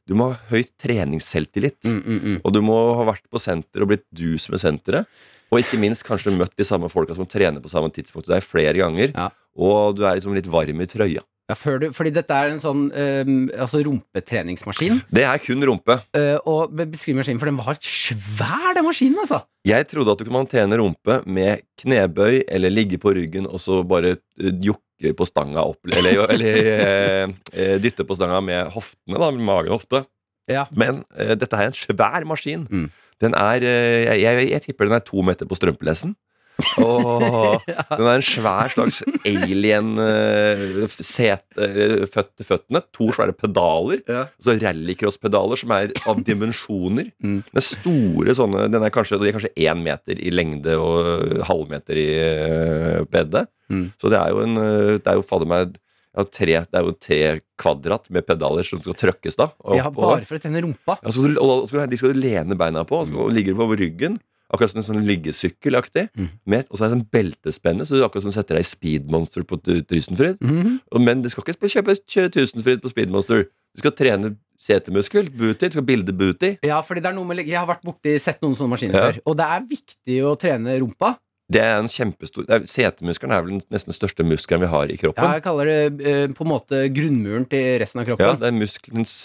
S7: du må ha høy treningsselvtillit.
S4: Mm, mm, mm.
S7: Og du må ha vært på senter og blitt dus med senteret. Og ikke minst kanskje møtt de samme folka som trener på samme tidspunkt som deg flere ganger.
S4: Ja.
S7: Og du er liksom litt varm i trøya.
S4: Ja, før du, fordi dette er en sånn ehm, altså rumpetreningsmaskin.
S7: Det er kun rumpe.
S4: Eh, og be- beskriv maskinen, for den var svær, den maskinen, altså!
S7: Jeg trodde at du kunne håndtere rumpe med knebøy eller ligge på ryggen og så bare eh, jokke på stanga opp Eller, eller eh, eh, dytte på stanga med hoftene, da, med magen og hofte.
S4: Ja.
S7: Men eh, dette her er en svær maskin.
S4: Mm.
S7: Den er eh, jeg, jeg, jeg tipper den er to meter på strømpelessen. Og den er en svær slags alien eh, f- set, eh, født til føttene. To svære pedaler.
S4: Ja.
S7: Så rallycross-pedaler som er av dimensjoner.
S4: Mm.
S7: Den er store sånne Den er kanskje, de er kanskje én meter i lengde og halvmeter i eh, bredde.
S4: Mm.
S7: Så det er jo en eh, Det er jo fader meg ja, tre, det er jo tre kvadrat med pedaler som skal trøkkes, da. og
S4: Ja,
S7: oppover.
S4: bare for å tenne rumpa.
S7: Ja, så du, og da skal du, de skal du lene beina på, og så ligger du på ryggen. Akkurat som en sånn liggesykkelaktig.
S4: Mm.
S7: med- Og så er det en beltespenne, så du akkurat som du setter deg i speedmonster på tu- Tusenfryd.
S4: Mhm.
S7: Og- Men du skal ikke sp- kjøpe kjø- Tusenfryd på speedmonster. Du skal trene setemuskel, booty, du skal bilde booty.
S4: Ja, fordi det er noe med Jeg har vært borti sett noen sånne maskiner
S7: Ja.
S4: før, og det er viktig å trene rumpa.
S7: Det er en kjempestor nei, Setemuskelen er vel den nesten største muskelen vi har i
S4: Ja,
S7: kroppen.
S4: jeg kaller det eh, på en måte grunnmuren til resten av
S7: Ja,
S4: kroppen.
S7: det er muskelens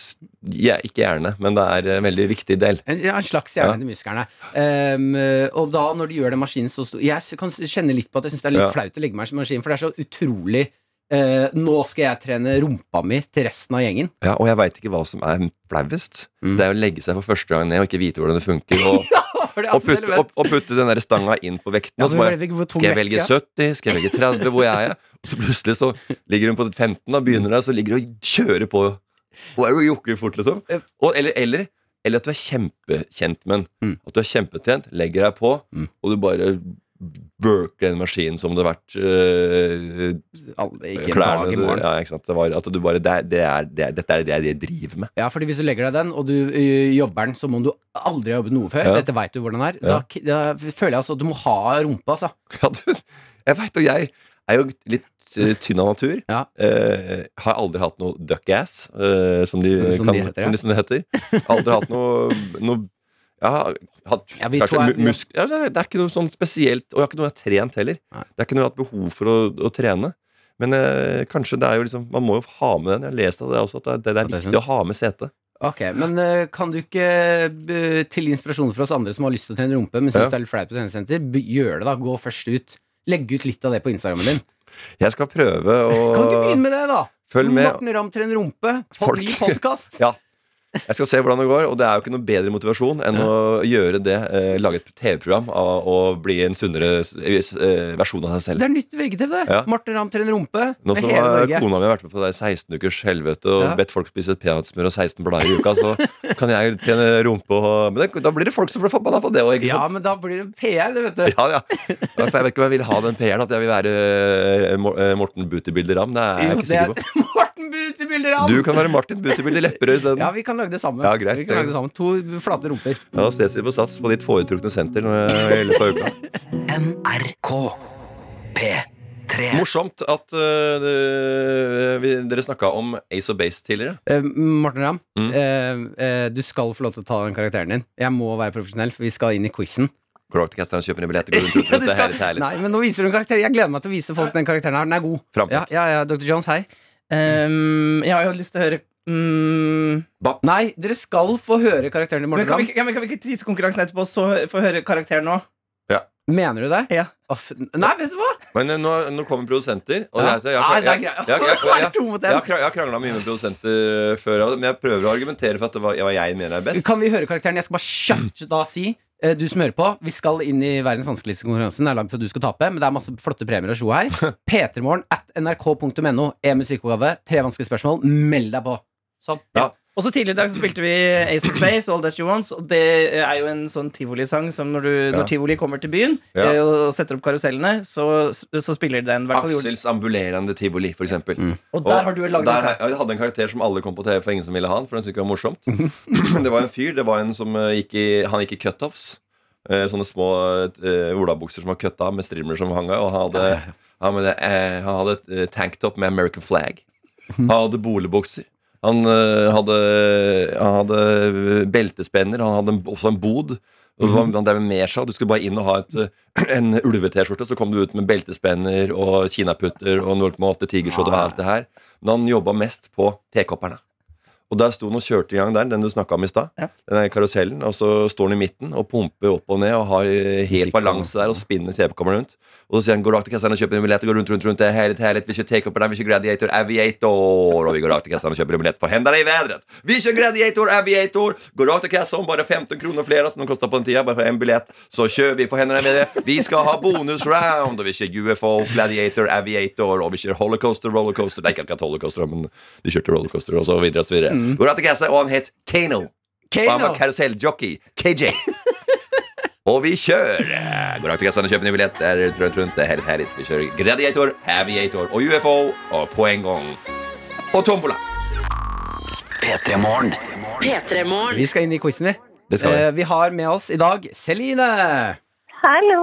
S7: ja, Ikke hjerne, men det er en veldig viktig del.
S4: En, ja, en slags hjerne
S7: Ja.
S4: til musklene. Ehm, og da, når de gjør den maskinen så stor Jeg s- kan s- kjenne litt på at jeg syns det er litt
S7: Ja.
S4: flaut å legge meg i en maskin, for det er så utrolig eh, Nå skal jeg trene rumpa mi til resten av gjengen.
S7: Ja, Og jeg veit ikke hva som er flauest.
S4: Mm.
S7: Det er å legge seg for første gang ned og ikke vite hvordan det funker. Og
S4: For det er
S7: og,
S4: altså
S7: putte,
S4: veldig
S7: og, og putte den der stanga inn på vekten.
S4: Ja,
S7: og så
S4: men
S7: bare,
S4: jeg vet ikke hvor tung
S7: skal jeg
S4: vekt
S7: velge
S4: skal
S7: 70? Skal jeg velge 30? Hvor er jeg? Og så plutselig så ligger hun på 15, da begynner det, og så ligger hun og kjører på. Og er jo jokker fort, liksom.
S4: Eh,
S7: Og, eller, eller, eller at du er kjempekjent med den.
S4: Mm.
S7: At du er kjempetrent, legger deg på,
S4: Mm.
S7: og du bare worke den maskinen som det har vært eh,
S4: Alle, ikke en
S7: klærne
S4: dag i
S7: du-
S4: morgen.
S7: Ja, ikke sant? Det var at du bare det, er- det er, det er, Dette er det jeg driver med.
S4: Ja, fordi hvis du legger deg den, og du ø, jobber den som om du aldri har jobbet noe før,
S7: Ja.
S4: dette veit du hvordan det er,
S7: Ja.
S4: da, k- da føler jeg altså at du må ha rumpa, altså.
S7: Ja, du, jeg veit, og jeg er jo litt eh, tynn av natur.
S4: Ja.
S7: Eh, har aldri hatt noe duckass, eh, som, de
S4: Som
S7: kan,
S4: de heter, ja.
S7: som, de, som det heter. Aldri hatt noe, noe Jeg har hatt
S4: Ja, vi to
S7: kanskje
S4: er-
S7: mu- musk- ja, det, er, det er ikke noe sånn spesielt, og jeg har ikke noe jeg har trent heller.
S4: Nei.
S7: Det er ikke noe jeg har hatt behov for å, å trene. Men eh, kanskje det er jo liksom man må jo ha med den. Jeg har lest av det også, at det, det er
S4: At det er
S7: viktig å ha med setet.
S4: Ok, Men ø, kan du ikke, ø, til inspirasjon for oss andre som har lyst til å trene rumpe, men syns
S7: Ja.
S4: det er litt flaut på treningssenter, b- gjør det, da. Gå først ut. Legg ut litt av det på Instagrammen din.
S7: Jeg skal prøve å
S4: Kan du ikke begynne med det, da?
S7: Følg med.
S4: Morten Ramm trener rumpe. På
S7: Folk.
S4: ny podkast.
S7: Ja. Jeg skal se hvordan det går, og det er jo ikke noe bedre motivasjon enn å gjøre det. Eh, lage et TV-program av å bli en sunnere eh, versjon av seg selv.
S4: Det er nytt VGTV, det.
S7: Ja.
S4: Morten Ramm trener rumpe.
S7: Nå
S4: med
S7: som
S4: hele
S7: eh,
S4: Norge.
S7: kona mi har vært med på det 16 ukers helvete og
S4: Ja.
S7: bedt folk spise peanøttsmør og 16 blader i uka, så kan jeg tjene rumpe og Men det, da blir det folk som blir forbanna på det òg, ikke
S4: Ja,
S7: sant?
S4: men da blir det PR, det, vet du.
S7: Ja, ja. For jeg vet ikke om jeg vil ha den P-en, at jeg vil være eh, Mor- eh, Morten Butibilde Ramm. Det er jeg
S4: Jo,
S7: ikke sikker
S4: det er
S7: på.
S4: Morten Butebilder Ramm!
S7: Du kan være Martin Butibilde Lepperød isteden.
S4: Ja, vi kan lage det sammen.
S7: Ja, greit.
S4: vi kan lage det sammen. To flate rumper.
S7: Ja, da ses vi på Sats på ditt foretrukne senter eh, i løpet av uka.
S2: NRK P3.
S7: Morsomt at øh, det- vi, dere snakka om Ace of Base tidligere.
S4: Eh, Morten Ramm,
S7: Mm.
S4: eh, eh, du skal få lov til å ta den karakteren din. Jeg må være profesjonell, for vi skal inn i quizen.
S7: Crocodcasteren kjøper en billett og går rundt uten at det er helt herlig.
S4: Nei, men nå viser du en karakter. Jeg gleder meg til å vise folk den karakteren her. Den er god.
S7: Frampå.
S4: Ja, ja, ja, Dr. Jones, hei.
S5: Ehm, jeg har jo lyst til å høre mm,
S4: Nei, dere skal få høre karakteren til
S5: men,
S4: Morten
S5: kan vi,
S4: Ramm.
S5: ikke- ja, men kan vi ikke tise konkurransen etterpå, så hø- få høre karakteren nå?
S4: Mener du det?
S5: Ja.
S4: Å, f- Nei, vet du hva?
S7: Men øh, nå, nå kommer produsenter. Og
S4: Ja.
S7: jeg, jeg, jeg,
S5: Nei, det er
S7: jeg,
S5: greit.
S7: jeg, jeg, jeg,
S5: Nå er det to mot en.
S7: jeg, jeg, jeg krangla mye med produsenter eh, før, men jeg prøver å argumentere for at det var, hva jeg mener er best.
S4: Kan vi høre karakteren? Jeg skal bare
S7: Mm.
S4: kjapt da si eh, du som hører på, vi skal inn i verdens vanskeligste konkurransen. Det er langt fra du skal tape, men det er masse flotte premier og sjo her. P3morgen at nrk.no. EMUs sykeoppgave. Tre vanskelige spørsmål. Meld deg på. Sånn.
S7: Ja.
S5: Og så Tidligere i dag så spilte vi Ace of Space, All That She Wants. Og det eh, er jo en sånn tivolisang som når, du,
S7: Ja.
S5: når tivoli kommer til byen
S7: Ja.
S5: eh, og setter opp karusellene, så, så spiller de den. i hvert fall gjorde-
S7: Aksels ambulerende tivoli, for eksempel.
S5: Og der har du laget en
S7: der
S5: karakter.
S7: har- Jeg hadde en karakter som alle kom på TV for ingen som ville ha han, for den syntes ikke det var morsomt. Men det var en fyr, det var en som eh, gikk i Han gikk i cutoffs. Eh, Sånne små eh, olabukser som var kutta av med strimler som hang av. Og han hadde, han hadde, eh, han hadde et eh, tanktop med American flag. Han hadde boligbukser. Han eh, hadde, han hadde eh, beltespenner. Han hadde en, også en bod. Og det var, han drev med mesja. Du skulle bare inn og ha et, eh, en ulve-T-skjorte, så kom du ut med beltespenner og kinaputter og 0,8 tigerskjorte og alt det her. Men han jobba mest på tekopperne. Og der sto han og kjørte i gang der, den du snakka om i stad.
S5: Ja.
S7: Den der karusellen. Og så står han i midten og pumper opp og ned og har eh,
S4: Musikk
S7: helt
S4: og-
S7: balanse der og spinner TV-kammeret rundt. Og så sier han 'går rakt til kasseren og kjøper en billett', og går rundt, rundt, rundt. Det er herlig, herlig. Vi kjører takeover, nei, vi kjører Gladiator, Aviator. Og vi går rakt til kasseren og kjøper en billett, for hender deg i vädret. Vi kjører Gladiator, Aviator. Går rakt til kassen, bare 15 kroner flere som de kosta på den tida, bare for en billett. Så kjører vi, for hender deg i vädret. Vi skal ha bonusround, og vi kjører UFO, Gladiator, Aviator, og vi kjører Holocaster, Rollercoaster. Nei, ikke akkurat Holocaster, men de kjørte Rollercoaster, og så videre og så videre. Går rakt til kassen, og han het Kano. Og han
S4: Kano.
S7: var karuselljockey. KJ. Og vi kjører! Går rakt til kassen og kjøper ny billett. Der rundt, rundt, rundt. Det er helt herlig. Vi kjører Gladiator, Aviator og UFO, og på en gang Og tombola.
S2: P3 Morgen.
S3: P3morgen.
S4: Vi skal inn i quizen, vi.
S7: Det skal vi.
S4: Eh, vi har med oss i dag Celine.
S8: Hallo,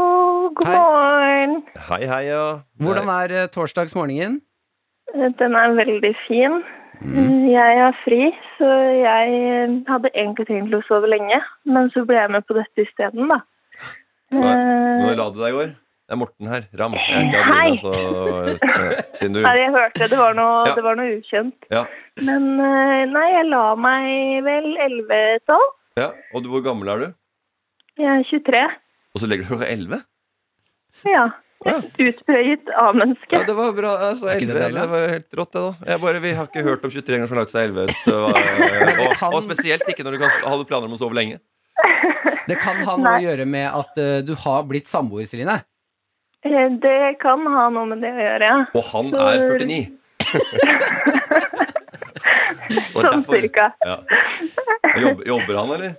S8: god
S4: Hei.
S8: morgen.
S7: Hei, hei, ja.
S4: Hvordan er eh, torsdagsmorgenen?
S8: Den er veldig fin.
S7: Mm.
S8: Jeg har fri, så jeg eh, hadde egentlig tenkt å sove lenge, men så ble jeg med på dette isteden, da. Eh,
S7: Når la du deg i går? Det er Morten her. Ram. Jeg er ikke Adeline,
S8: Hei.
S7: så ja, Siden
S8: Nei,
S7: du
S8: jeg hørte det var noe,
S7: Ja.
S8: det var noe ukjent.
S7: Ja.
S8: Men eh, nei, jeg la meg vel 11-12.
S7: ja. Og du, hvor gammel er du?
S8: Jeg er 23.
S7: Og så legger du klokka 11?
S8: Ja.
S7: Ja.
S8: Et utprøyet A-menneske.
S7: Ja, det var bra. Altså,
S4: Er ikke
S7: 11,
S4: det deilig, da?
S7: det var helt rått, det, da. Jeg bare, vi har ikke hørt om 23 ganger som har lagt seg 11. Så, eh, og, og, og spesielt ikke når du kan, hadde planer om å sove lenge.
S4: Det kan ha noe å
S8: Nei.
S4: gjøre med at eh, du har blitt samboer, Celine.
S8: Eh, Det kan ha noe med det å gjøre, ja.
S7: Og han er 49. Og
S8: Sånn
S7: derfor-
S8: cirka.
S7: Ja. Jobber, jobber han, eller?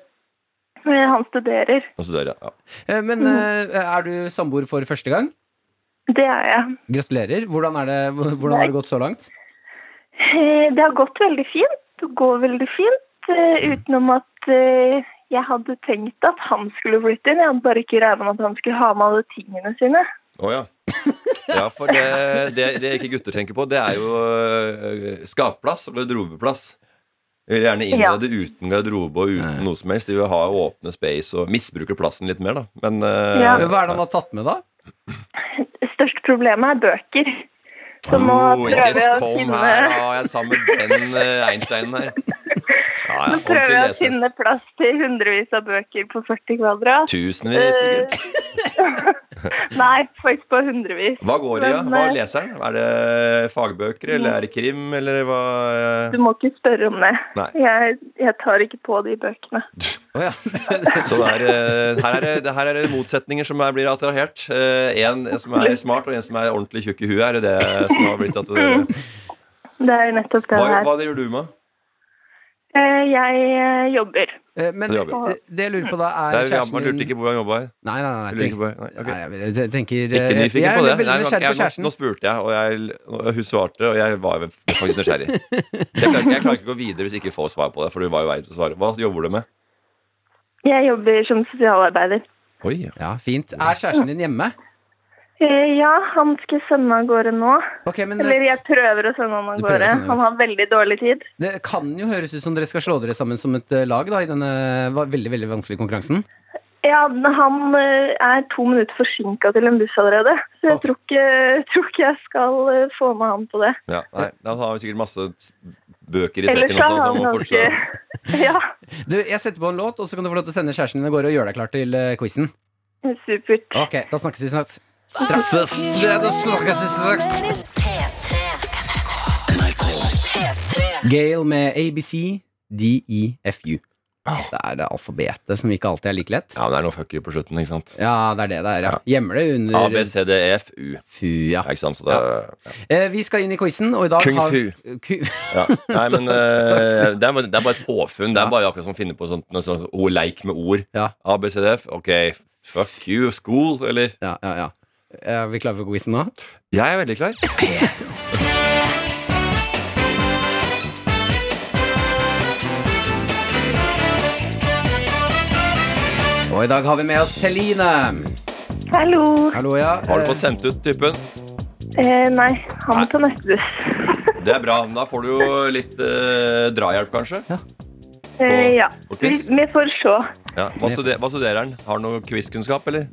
S8: Eh, Han studerer.
S7: Han studerer, ja.
S4: Eh, Men
S8: Mhm.
S4: eh, er du samboer for første gang?
S8: Det er jeg.
S4: Gratulerer. Hvordan, er det, hvordan har det gått så langt?
S8: Eh, Det har gått veldig fint. Det går veldig fint. eh, Utenom at eh, jeg hadde tenkt at han skulle flytte inn. Jeg hadde bare ikke regnet med at han skulle ha med alle tingene sine.
S7: Å ja. Ja, for det, det, det ikke gutter tenker på, det er jo øh, skapplass og garderobeplass. De vil gjerne innrede uten garderobe og uten noe som helst. De vil ha åpne space og misbruker plassen litt mer, da. Men øh,
S8: Ja.
S4: Eh, Hva er det han har tatt med, da?
S8: Det største problemet er bøker. Så nå
S7: oh,
S8: prøver
S7: yes,
S8: jeg å
S7: kom
S8: finne,
S7: her, ja, jeg er sammen med den øh, Einsteinen her. Ja, ja,
S8: nå
S7: ordentlig
S8: prøver jeg å
S7: lesehest.
S8: finne plass til hundrevis av bøker på 40 kvadrat. Eh,
S7: Tusenvis, sikkert.
S8: Nei, faktisk på hundrevis.
S7: Hva går det i, ja?
S8: Men,
S7: Hva
S8: eh,
S7: leser han? Er det fagbøker, eller er det krim, eller hva
S8: Du må ikke spørre om det.
S7: Nei.
S8: Jeg, jeg tar ikke på de bøkene.
S4: Å ja.
S7: Så det er, eh, her, er det, det- her er det motsetninger som er, blir attrahert. Eh, En som er smart, og en som er ordentlig tjukk i huet. Er det det som har blitt at dere-
S8: Det er jo nettopp det det
S7: hva,
S8: Mm, er.
S7: hva driver du med?
S8: Eh, Jeg eh, jobber.
S4: Eh, Men eh,
S7: Det gjør vi.
S4: det jeg lurer på, da,
S7: Det
S4: er
S7: er, man lurte ikke på hvordan jeg jobba her.
S4: Nei, nei, nei.
S7: Jeg
S4: tenk-
S7: lurer ikke på, nei, ok.
S4: Nei, jeg tenker
S7: Ikke
S4: eh,
S7: nyfiken
S4: Jeg
S7: på
S4: er
S7: det.
S4: veldig
S7: Nei,
S4: nysgjerrig på
S7: jeg, nå, nå
S4: kjæresten.
S7: spurte jeg, og jeg, og hun svarte, og jeg var faktisk nysgjerrig. Jeg klarer, jeg klarer ikke å gå videre hvis jeg ikke får svar på det, for du var jo vei til å svare. Hva jobber du med?
S8: Jeg jobber som sosialarbeider.
S7: Oi,
S4: Ja, fint. Er kjæresten din hjemme?
S8: Eh, Ja, han skal sende av gårde nå.
S4: Ok, men eh,
S8: Eller jeg prøver å sende han av
S4: Du prøver å
S8: gårde.
S4: sende han av
S8: Han har veldig dårlig tid.
S4: Det kan jo høres ut som dere skal slå dere sammen som et eh, lag da, i denne va- veldig veldig vanskelige konkurransen.
S8: Ja, men han eh, er to minutter forsinka til en buss allerede. Så jeg
S4: Ok.
S8: tror ikke, tror ikke jeg skal eh, få med han på det.
S7: ja. Nei, da har vi sikkert masse bøker i
S8: Ellers
S7: sekken
S8: er
S7: også. så
S8: han
S7: må
S8: ganske
S7: fortsette.
S8: Ja,
S4: Du, Jeg setter på en låt, og så kan du få lov til å sende kjæresten din av gårde og gjøre deg klar til uh, quizen.
S8: supert.
S4: Ok, da snakkes vi snart. Straks. Ja, da snakkes vi straks. Gail med ABC, DEFU. E Det er det alfabetet som ikke alltid er like lett.
S7: Ja, men det er noe fuck you på slutten, ikke sant?
S4: Ja, det er det det er, ja. Gjemmer det
S7: A,
S4: under
S7: B, C, D, E, F, U.
S4: Fu, ja.
S7: Ja, ikke sant? Så det er
S4: Eh, vi skal inn i quizen, og i dag
S7: Kung
S4: har
S7: fu.
S4: Ku-
S7: Ja. Nei, men eh, det, er, bare- det er bare et påfunn. Det er bare akkurat som å finne på sånt, noe sånt oh, leik med ord.
S4: Ja.
S7: A, B, C, D, F. Ok, fuck you, school, eller?
S4: Ja, ja, ja. Er vi klare for quizen nå?
S7: Jeg er veldig klar.
S4: Og i dag har vi med oss Celine.
S8: Hallo.
S4: Hallo, ja.
S7: Har du fått sendt ut typen?
S8: Eh, nei, han må ta neste buss.
S7: Det er bra. Da får du jo litt eh, drahjelp, kanskje.
S8: Eh, ja.
S7: Og
S8: Vi,
S7: quiz?
S8: vi får se.
S7: Ja. Hva, studer, hva studerer han? Har han noe quizkunnskap, eller?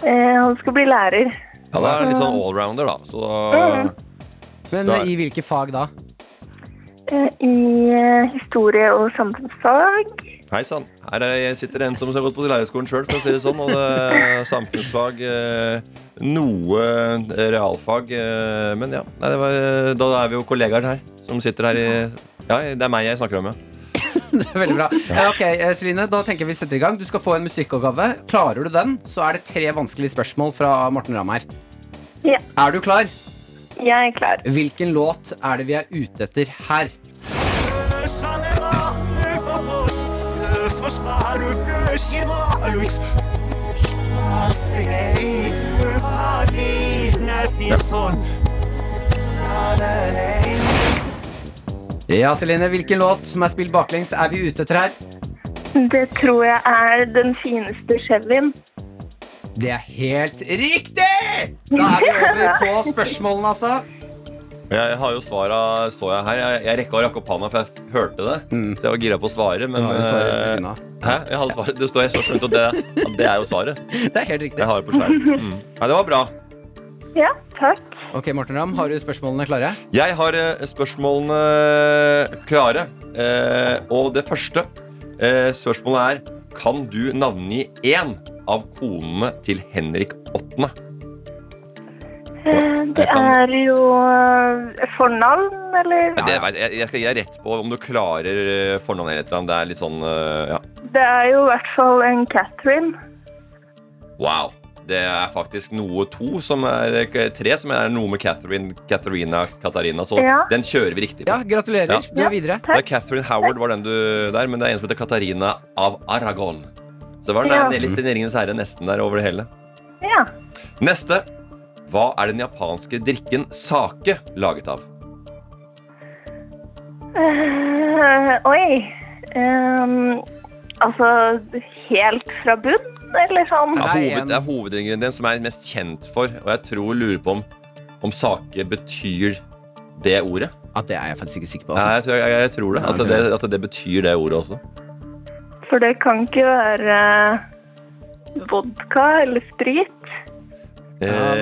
S8: Eh, han skal bli lærer.
S7: Ja, da er han litt sånn allrounder, da. Så
S4: Men
S7: Der.
S4: i hvilke fag da?
S8: eh, I eh, historie og samfunnsfag.
S7: hei sann. Her er, jeg sitter en som har gått på lærerskolen sjøl, for å si det sånn. Og det er samfunnsfag, eh, noe realfag. eh, Men ja, Nei, det var, eh, da er vi jo kollegaer her, som sitter her i Ja, det er meg jeg snakker om, ja.
S4: Veldig bra. Eh, Ok, eh, Celine, da tenker jeg vi setter i gang. Du skal få en musikkoppgave. Klarer du den, så er det tre vanskelige spørsmål fra Morten Ramm her.
S8: Ja.
S4: Er du klar?
S8: Jeg er klar.
S4: Hvilken låt er det vi er ute etter her? Ja, Celine, hvilken låt som er spilt baklengs, er vi ute etter her?
S8: Det tror jeg er den fineste Chevyen.
S4: Det er helt riktig! Da er vi over på spørsmålene, altså.
S7: Eh. Jeg har jo svara, så jeg her. Jeg, jeg rekka å rakke opp handa, for jeg hørte det. Jeg var gira på å svare, men
S4: Ja, vi svarer ved
S7: eh,
S4: siden av.
S7: Hæ? Jeg hadde svaret. Det står jeg så skjønt, og det, at det er jo svaret.
S4: Det er helt riktig.
S7: Jeg har det på skjermen. Mm. Nei, det var bra.
S8: Ja, takk.
S4: Ok, Morten Ramm, har du spørsmålene klare?
S7: Jeg har eh, spørsmålene klare. Eh, og det første eh, spørsmålet er Kan du navngi én av konene til Henrik 8.?
S8: Eh, det
S7: jeg kan-
S8: er jo eh, fornavn, eller?
S7: Det vet jeg, jeg skal gi deg rett på om du klarer eh, fornavnet eller et eller annet. Det er litt sånn eh, ja.
S8: Det er jo i hvert fall en Catherine.
S7: Wow. Det er faktisk noe to som er eh, tre som er noe med Catherine, Katharina, Katarina. Så
S8: Ja.
S7: den kjører vi riktig på.
S4: Ja, gratulerer.
S7: Ja.
S4: Du er videre.
S7: Det er Catherine Howard var den du der, men det er en som heter Katarina av Aragon. Det var
S8: Ja.
S7: nær, litt Den ringenes herre nesten der over det hele.
S8: Ja.
S7: Neste. Hva er den japanske drikken sake laget av?
S8: Eh, oi. Ehm, altså helt fra bunn, eller sånn?
S7: Det
S4: Ja.
S7: er,
S4: Nei,
S7: hoved,
S4: en-
S7: det er hovedingrediens som jeg er mest kjent for, og jeg tror lurer på om, om sake betyr det ordet.
S4: Ja, det er jeg faktisk ikke sikker på.
S7: Nei,
S4: Altså.
S7: jeg, tror, jeg, jeg tror det.
S4: Nei,
S7: At
S4: jeg
S7: det,
S4: tror
S7: at det betyr det ordet også.
S8: For det kan ikke være vodka eller sprit.
S4: men
S7: Eh,
S4: hva-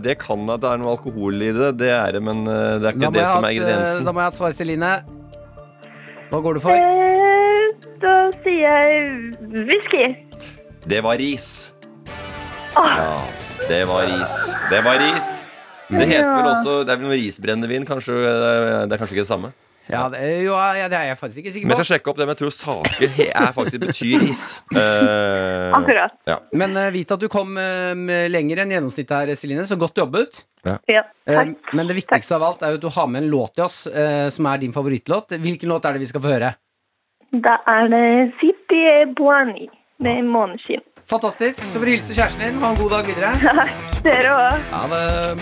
S7: det kan at det er noe alkohol i det, det er det, men eh, det er ikke det
S4: jeg
S7: som
S4: ha
S7: er
S4: et, eh,
S7: ingrediensen.
S4: da må jeg ha et svar, Celine. Hva går du for?
S8: Eh, da sier jeg whisky.
S7: Det var ris. Ja, det var ris. Det var ris. Det heter vel også Det er vel noe risbrennevin, kanskje. eh, Det er kanskje ikke det samme.
S4: Ja, det, jo, ja, det er jeg faktisk ikke sikker på.
S7: Men jeg skal sjekke opp det, men jeg tror saker he- er faktisk betyr ris. Eh,
S8: Akkurat.
S4: Men eh, vit at du kom eh, med lenger enn gjennomsnittet her, Celine, så godt jobbet.
S8: Ja,
S4: Eh,
S8: takk.
S4: men det viktigste av alt er jo at du har med en låt til oss, eh, som er din favorittlåt. Hvilken låt er det vi skal få høre?
S8: Da er det City Boani med måneskinn.
S4: Fantastisk. Så får du hilse kjæresten din. Ha en god dag videre.
S8: Dere òg.
S4: Ha det.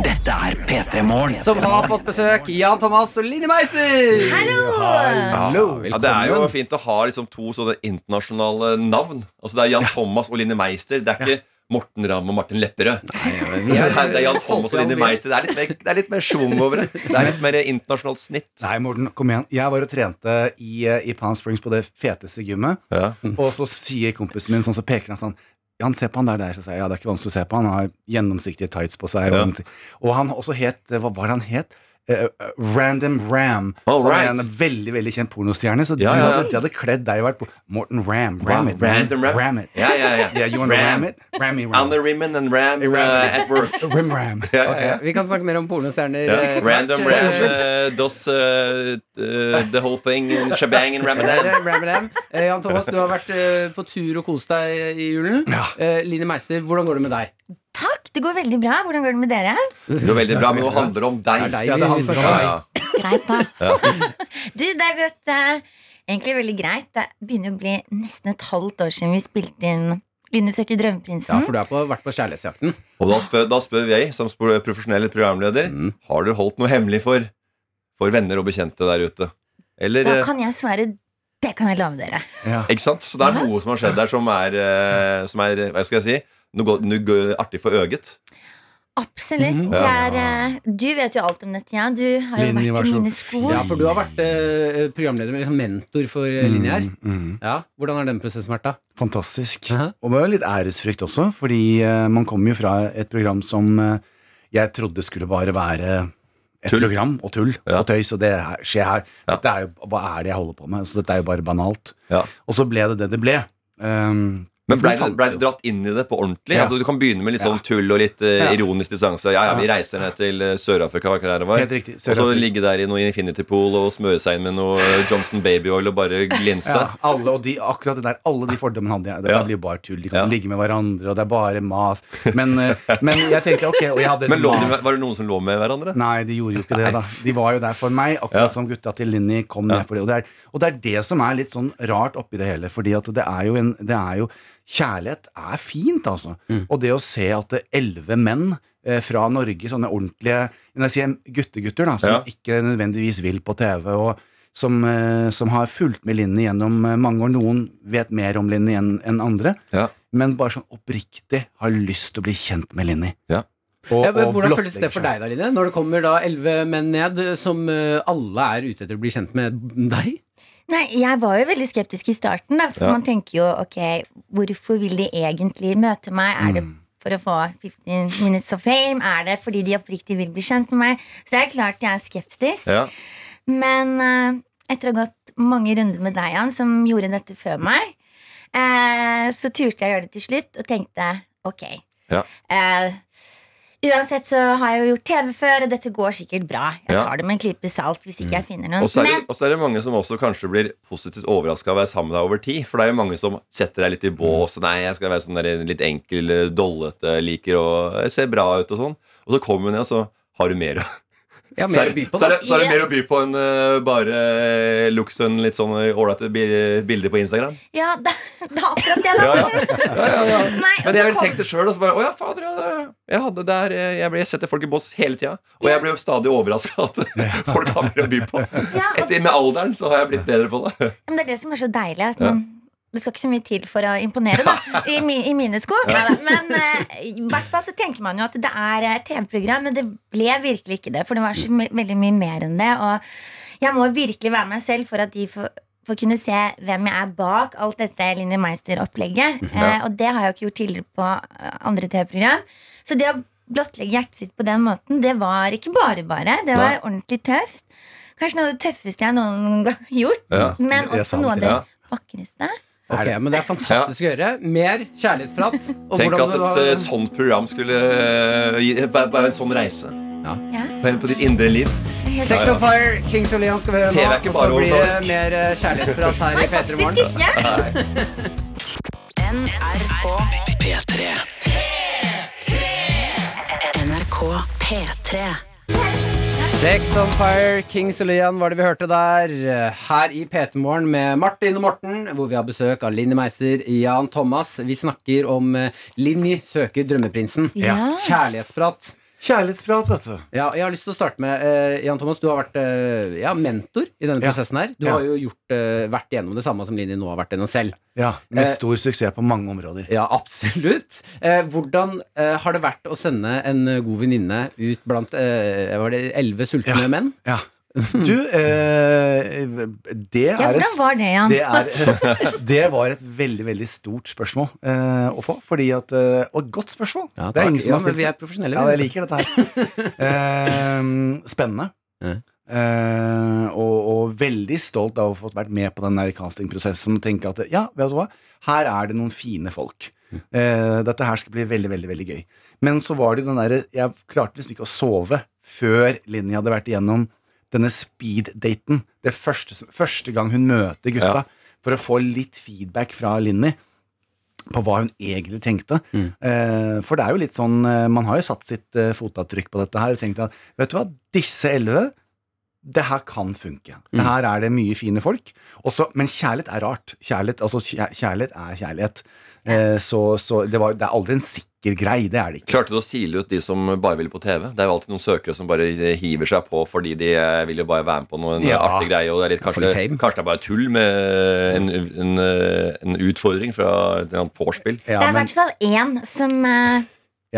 S2: Dette er P3 Morgen.
S4: Som har fått besøk. Jan Thomas og Line Meiser. Hallo.
S7: Ja, det er jo fint å ha liksom to sånne internasjonale navn. Altså Det er Jan Thomas og Line Meister. Det er ikke Morten Ramm og Martin Lepperød. Det er, det er Jan Thomas og Line Meister. Det er litt mer, det er litt mer schwung over det. Det er litt mer internasjonalt snitt.
S9: Nei, Morten, kom igjen. Jeg var og trente i, eh, i Palm Springs på det feteste gymmet.
S7: Ja.
S9: Og så sier kompisen min sånn, så peker han sånn Jan, se på han der, der. Så sier jeg, ja, det er ikke vanskelig å se på. Han har gjennomsiktige tights på seg.
S7: Ja.
S9: Og, og han også het Hva var det han het? Eh, eh, Random Ram.
S7: All
S9: Så han er
S7: right.
S9: En veldig veldig kjent pornostjerne. Så
S7: Ja,
S9: du
S7: ja, ja.
S9: hadde, de hadde kledd deg og vært på Morten Ram. Ram it. Ram,
S7: Random Ram.
S9: ram it.
S7: Ja, ja, ja.
S9: Yeah, you wanna
S7: Ram.
S9: ram it? Rammy
S7: On
S9: ram.
S7: the rimmen and ram uh, at work.
S9: Rim ram.
S7: Ja, ja, ja.
S4: Vi kan snakke mer om pornostjerner. eh,
S7: Ja.
S4: etter
S7: Random
S4: hvert.
S7: ram uh, does uh, uh, the whole thing and shebang and ramadan.
S4: Ram, ram, ram. Eh, Jan Thomas, du har vært eh, på tur og kost deg i julen. Eh, Line Meister, hvordan går det med deg?
S10: Takk, det går veldig bra. Hvordan går det med dere?
S7: Det var veldig bra, men nå handler det om
S4: Det er
S7: deg.
S4: deg
S9: Ja,
S4: vi-
S9: det
S4: vi
S9: handler om
S4: snakker om.
S9: deg.
S7: Ja,
S10: Greit, da. Du, det er godt. eh, egentlig veldig greit. Det begynner å bli nesten et halvt år siden vi spilte inn Line søker
S4: Ja,
S10: drømmeprinsen.
S4: for du har på, vært på kjærlighetsjakten.
S7: Og da spør, da spør vi, som sp- profesjonelle programleder,
S4: Mm.
S7: har du holdt noe hemmelig for, for venner og bekjente der ute? Eller,
S10: da
S7: eh,
S10: kan jeg svare Det kan jeg love dere.
S9: Ja.
S7: ikke sant? Så det er noe som har skjedd der som er, eh, som er hva skal jeg si, noe, godt- noe gøy- artig for øget.
S10: Absolutt. Det er, eh, du vet jo alt om dette, ja. Du har jo
S9: Linje, vær
S10: vært
S9: så
S10: i mine
S9: god.
S10: sko.
S4: Ja, for du har vært eh, programleder, liksom mentor for eh, Line her.
S9: Mm.
S4: Ja, Hvordan har den prosessen vært, da?
S9: Fantastisk.
S4: Hæ?
S9: Og med litt æresfrykt også, fordi eh, man kommer jo fra et program som eh, jeg trodde skulle bare være et
S7: Tull.
S9: program og tull
S7: Ja.
S9: og tøys, og det her- skjer her.
S7: Ja.
S9: Dette er jo, hva er det jeg holder på med? Så dette er jo bare banalt.
S7: Ja.
S9: Og så ble det det det ble. Um,
S7: Men blei
S9: for
S7: du,
S9: det
S7: ble
S9: falt
S7: du
S9: jo.
S7: dratt inn i det på ordentlig?
S9: Ja.
S7: Altså, du kan begynne med litt sånn tull og litt eh, ironisk distanse. Ja, ja, vi reiser ned til eh, Sør-Afrika, hva det var.
S9: Helt riktig.
S7: Og så
S9: Sør-Afrika.
S7: ligge der i noe Infinity Pool og smøre seg inn med noe eh, Johnson Baby Oil og bare glinse.
S9: Ja, alle, og de, akkurat det der, alle de fordommene hadde jeg. Det
S7: Ja.
S9: blir jo bare tull. De kan
S7: Ja.
S9: ligge med hverandre, og det er bare mas. Men, eh, men jeg tenkte ok, og jeg hadde liksom
S7: Men lå
S9: mas-
S7: de, var det noen som lå med hverandre?
S9: Nei, de gjorde jo ikke det, da. De var jo der for meg,
S7: Ja.
S9: akkurat som gutta til Linni kom ned for det. Og det, er, og det er det som er litt sånn rart oppi det hele, fordi at det er jo en det er jo, Kjærlighet er fint, altså.
S7: Mm.
S9: Og det å se at elleve menn eh, fra Norge, sånne ordentlige når jeg sier guttegutter, da, som
S7: Ja.
S9: ikke nødvendigvis vil på TV, og som, eh, som har fulgt med Linni gjennom eh, mange år, noen vet mer om Linni enn enn andre,
S7: Ja.
S9: men bare sånn oppriktig har lyst til å bli kjent med Linni.
S7: Ja.
S9: Og-
S4: Ja, men
S9: og
S4: hvordan føles det
S9: blottlegge
S4: for deg,
S7: liksom.
S9: seg.
S4: da, Line? Når det kommer da elleve menn ned som eh, alle er ute etter å bli kjent med deg?
S10: Nei, jeg var jo veldig skeptisk i starten, da, for
S7: Ja.
S10: man tenker jo ok, hvorfor vil de egentlig møte meg? Er det for å få 15 minutes of fame? Er det fordi de oppriktig vil bli kjent med meg? Så det er klart jeg er skeptisk.
S7: Ja.
S10: Men eh, etter å ha gått mange runder med deg, Jan, som gjorde dette før meg, eh, så turte jeg å gjøre det til slutt og tenkte ok.
S7: Ja.
S10: Eh, uansett så har jeg jo gjort TV før, og dette går sikkert bra. Jeg
S7: Ja. Mm.
S10: tar det med en klype salt hvis ikke jeg finner noen.
S7: Og så er,
S10: Men-
S7: det- og så er det mange som også kanskje blir positivt overraska av å være sammen med deg over tid. For det er jo mange som setter deg litt i bås. Nei, jeg skal være sånn der, litt enkel, eh, dollete, liker å se bra ut og sånn. Og så kommer hun ned, og så har du mer å
S4: Ja,
S7: Så
S4: mer
S7: er,
S4: å by på,
S7: så, er
S4: da.
S7: det, så er det mer å by på enn eh, bare eh, Luxon litt sånn eh, ålreite bi- bilder på Instagram.
S10: Ja, det det er akkurat det, da.
S7: Ja, ja.
S10: Nei,
S7: Men
S10: og så
S7: jeg ville
S10: kom-
S7: tenkt det sjøl. Og så bare Å ja, fader, ja. det- Jeg hadde der eh, Jeg, ble, jeg setter folk i bås hele tida. Og jeg blir jo stadig overraska at folk har mer å by på.
S10: Ja, og,
S7: Etter, med alderen så har jeg blitt bedre på det.
S10: men det er det som er så deilig. At man, det skal ikke så mye til for å imponere, da. I, mi, i mine sko. Neida, Men eh, i hvert fall så tenker man jo at det er eh, TV-program, men det ble virkelig ikke det. For det var så my veldig mye mer enn det. Og jeg må virkelig være meg selv for at de får får kunne se hvem jeg er bak alt dette Linni Meister-opplegget. Eh, og det har jeg jo ikke gjort tidligere på eh, andre TV-program. Så det å blottlegge hjertet sitt på den måten, det var ikke bare bare. Det var ordentlig tøft. Kanskje noe av det tøffeste jeg noen gang har gjort.
S7: Ja,
S10: men
S9: det er
S10: også
S9: sant,
S10: noe av det
S7: ja.
S10: vakreste.
S4: Ok, men det er fantastisk å gjøre. Mer kjærlighetsprat. og
S7: Tenk
S4: hvordan
S7: at et
S4: det var-
S7: eh, sånt program skulle eh, gi- være være en sånn reise.
S10: Ja.
S7: På, på ditt indre liv.
S10: Helt
S4: Sex on Fire, Kings of Leon skal vi høre
S7: TV er
S4: nå.
S7: ikke
S4: Og
S7: bare
S4: så blir
S7: overfladisk.
S4: det mer eh, kjærlighetsprat her i P3
S10: Faktisk
S4: Morgen.
S10: ikke!
S3: NRK P3 NRK P3
S4: Sex on Fire, Kings of Leon var det vi hørte der. Her i P3 Morgen med Martin og Morten, hvor vi har besøk av Linni Meiser, Jan Thomas. Vi snakker om eh, Linni søker drømmeprinsen.
S10: Ja.
S4: Kjærlighetsprat.
S9: Kjærlighetsprat, vet du.
S4: Ja, jeg har lyst til å starte med eh, Jan Thomas, du har vært eh, ja, mentor i denne
S9: Ja.
S4: prosessen her. Du
S9: Ja.
S4: har jo gjort, eh, vært igjennom det samme som Linni nå har vært gjennom selv.
S9: Ja, Med
S4: Eh,
S9: stor suksess på mange områder.
S4: Ja, absolutt. Eh, hvordan eh, har det vært å sende en eh, god venninne ut blant eh, var det elleve sultne
S9: Ja.
S4: menn?
S9: Ja. Du, eh, det
S10: Ja,
S9: er
S10: hvordan var det, Jan?
S9: Det, er, det var et veldig veldig stort spørsmål eh, å få. Fordi at, eh, og et godt spørsmål.
S4: Ja,
S9: det
S4: takk.
S9: er ingen som
S4: Ja,
S9: har
S4: men
S9: stilt
S4: vi er profesjonelle.
S9: Ja,
S4: vi.
S9: jeg liker dette her. Eh, spennende.
S4: Ja.
S9: Eh, og, og veldig stolt av å ha fått vært med på den der castingprosessen og tenke at ja, vet du hva, her er det noen fine folk. Eh, dette her skal bli veldig, veldig veldig gøy. Men så var det den derre Jeg klarte liksom ikke å sove før Linni hadde vært igjennom denne speed-daten. Det første, første gang hun møter gutta, for å få litt feedback fra Linni på hva hun egentlig tenkte. Eh, for det er jo litt sånn eh, Man har jo satt sitt eh, fotavtrykk på dette her og tenkt at vet du hva, disse elleve det her kan funke. Her er det mye fine folk. Også, men kjærlighet er rart. Kjærlighet, altså, kjær- kjærlighet er kjærlighet. Eh, så så det, var, det er aldri en sikker grei. Det er det ikke.
S7: Klarte du å sile ut de som bare ville på TV? Det er jo alltid noen søkere som bare hiver seg på fordi de eh, vil jo bare være med på noen
S9: Ja.
S7: artig greie. Og det er litt,
S4: For
S7: kanskje,
S4: litt fame.
S7: kanskje det er bare tull med en, en, eh, en utfordring fra et eller annet vorspiel.
S10: Det
S9: Ja,
S10: er i
S9: men-
S10: hvert fall én som eh,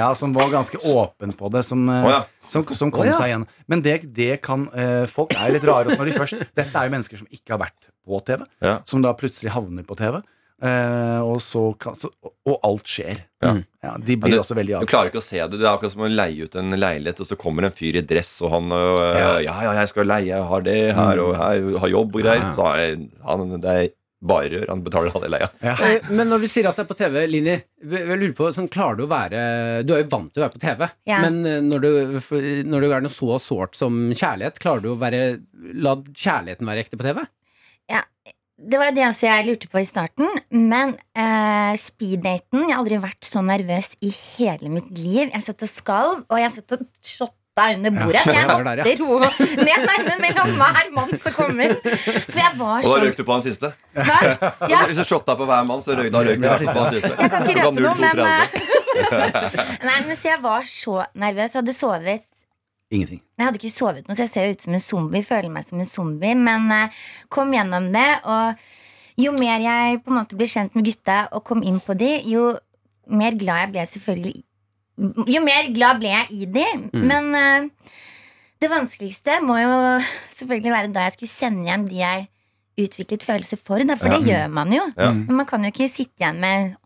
S9: Ja, som var ganske åpen på det. Som, eh,
S7: Å, ja.
S9: som, som kom
S4: Å, ja.
S9: seg igjen. Men det, det kan eh, Folk er litt rare også når de først Dette er jo mennesker som ikke har vært på TV,
S7: Ja.
S9: som da plutselig havner på TV. eh, og, så kan, så, og alt skjer.
S7: Ja.
S4: Mm.
S9: Ja, de
S7: Men
S9: blir også veldig
S7: Du
S9: avhengige.
S7: klarer ikke å se det. Det er akkurat som å leie ut en leilighet, og så kommer en fyr i dress, og han øh, ja. ja, jeg skal leie, jeg har det her, og her, jeg har jobb og greier. Så er han, det er bare rør. Han betaler halve leia.
S9: Ja.
S4: Eh, Men når du sier at det er på TV, Linni, v- jeg lurer på, sånn, klarer du å være Du er jo vant til å være på TV,
S10: Ja.
S4: men eh, når du, f- når du er noe så sårt som kjærlighet, klarer du å være La kjærligheten være ekte på TV?
S10: Det var jo det også jeg lurte på i starten. Men eh, speeddaten Jeg har aldri vært så nervøs i hele mitt liv. Jeg satt og skalv, og jeg satt og shotta under bordet.
S4: Ja,
S10: Jeg
S4: det var
S10: måtte
S4: der,
S10: ro ned armen mellom hver mann som kommer. For jeg var
S7: Og da
S10: sånn
S7: røyk du på han siste.
S10: Hva? Ja,
S7: Hvis du shotta på hver mann, så røyk, da røyk du i hvert fall på han siste.
S10: jeg kan
S7: Du ga
S10: ikke røpe noe,
S7: 0,2
S10: men
S7: tredje.
S10: eh, Nei, men så jeg var så nervøs. Jeg hadde sovet
S9: Ingenting.
S10: Jeg hadde ikke sovet noe, så jeg ser jo ut som en zombie. Føler meg som en zombie Men eh, kom gjennom det, og jo mer jeg på en måte ble kjent med gutta og kom inn på de, jo mer glad jeg ble selvfølgelig Jo mer glad ble jeg i de.
S9: Mm.
S10: Men eh, det vanskeligste må jo selvfølgelig være da jeg skulle sende hjem de jeg utviklet følelser for. Da, for det gjør man
S9: Mm.
S10: jo.
S7: Ja.
S10: Men man kan jo ikke sitte igjen med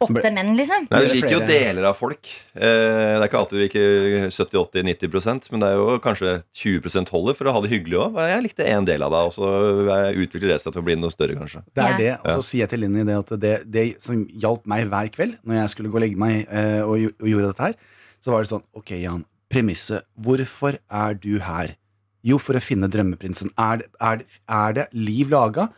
S10: åtte menn, liksom.
S7: Nei, Du liker jo deler av folk. Eh, Det er ikke alltid du liker 70-80-90 men det er jo kanskje 20 holder for å ha det hyggelig òg. Jeg likte en del av deg, og så utvikler resten til å bli noe større, kanskje.
S9: Det er
S10: Ja.
S9: det, og så sier jeg til Linni det at det, det som hjalp meg hver kveld når jeg skulle gå og legge meg eh, og, gjo- og gjorde dette her, så var det sånn Ok, Jan, premisset. Hvorfor er du her? Jo, for å finne drømmeprinsen. Er det, er det, er det liv laga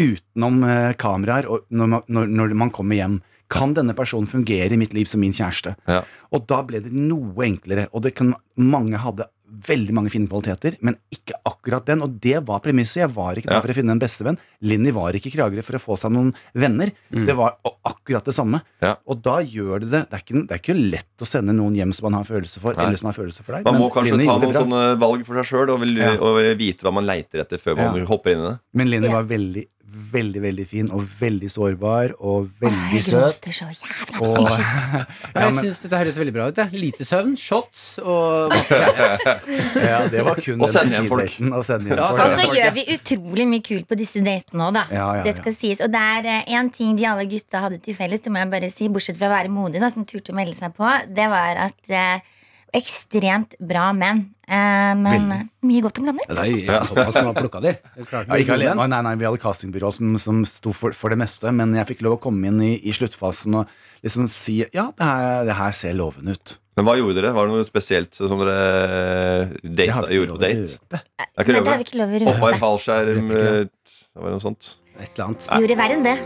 S9: utenom eh, kameraer og når man, når, når man kommer hjem? Kan denne personen fungere i mitt liv som min kjæreste?
S7: Ja.
S9: Og da ble det noe enklere, og det kan, mange hadde veldig mange fine kvaliteter, men ikke akkurat den. Og det var premisset. Jeg var ikke der
S7: Ja.
S9: for å finne en bestevenn. Linni var ikke i Kragerø for å få seg noen venner. Det var a- akkurat det samme.
S7: Mm. Ja.
S9: Og da gjør det det. Det er, ikke, det er ikke lett å sende noen hjem som man har følelse for,
S7: Nei.
S9: eller som har følelse for deg.
S7: Man
S9: men
S7: må kanskje
S9: Linni
S7: ta
S9: gjorde det
S7: noen
S9: bra.
S7: sånne valg for seg sjøl og, vil-
S9: Ja.
S7: og vite hva man leiter etter før man
S9: Ja.
S7: hopper inn i det.
S9: Men Linni
S10: Ja.
S9: var veldig, veldig veldig fin, og veldig sårbar, og veldig
S10: Jeg
S9: søt.
S10: gråter så jævla
S9: Og,
S10: mye.
S4: Ja,
S9: ja,
S4: jeg
S9: men,
S4: syns dette høres veldig bra ut. jeg. Lite søvn, shots og masse kjærlighet.
S9: ja, det var kun
S7: Og
S9: den
S7: sende hjem folk.
S9: fridaten, Og sende hjem
S4: Ja,
S9: folk.
S4: sende
S10: Og
S9: ja.
S10: så
S4: folk, ja.
S10: gjør vi utrolig mye kult på disse datene òg, da.
S9: Ja, ja,
S10: Det
S9: ja.
S10: skal sies. Og det er én ting de alle gutta hadde til felles, det må jeg bare si, bortsett fra å være modig, da, som turte å melde seg på, det var at eh, Ekstremt bra menn. Eh, men
S9: Veldig.
S10: mye godt om blandet.
S4: Det er jo Thomas som har plukka de.
S9: Ja, ikke alene. Nei, nei, nei, vi hadde castingbyrå som, som sto for, for det meste, men jeg fikk lov å komme inn i, i sluttfasen og liksom si ja, det her, det her ser lovende ut.
S7: Men hva gjorde dere? Var det noe spesielt som dere eh,
S9: Det har
S7: date,
S9: vi ikke
S7: gjorde på
S9: lov å
S7: date?
S9: røpe.
S7: Det er ikke
S10: Nei, det har
S7: røve.
S10: vi ikke lov å
S7: Hoppa i
S10: røpe.
S7: fallskjerm
S4: Det er ikke
S7: eh, Det var noe sånt.
S4: Et eller annet.
S10: Gjorde verre enn det.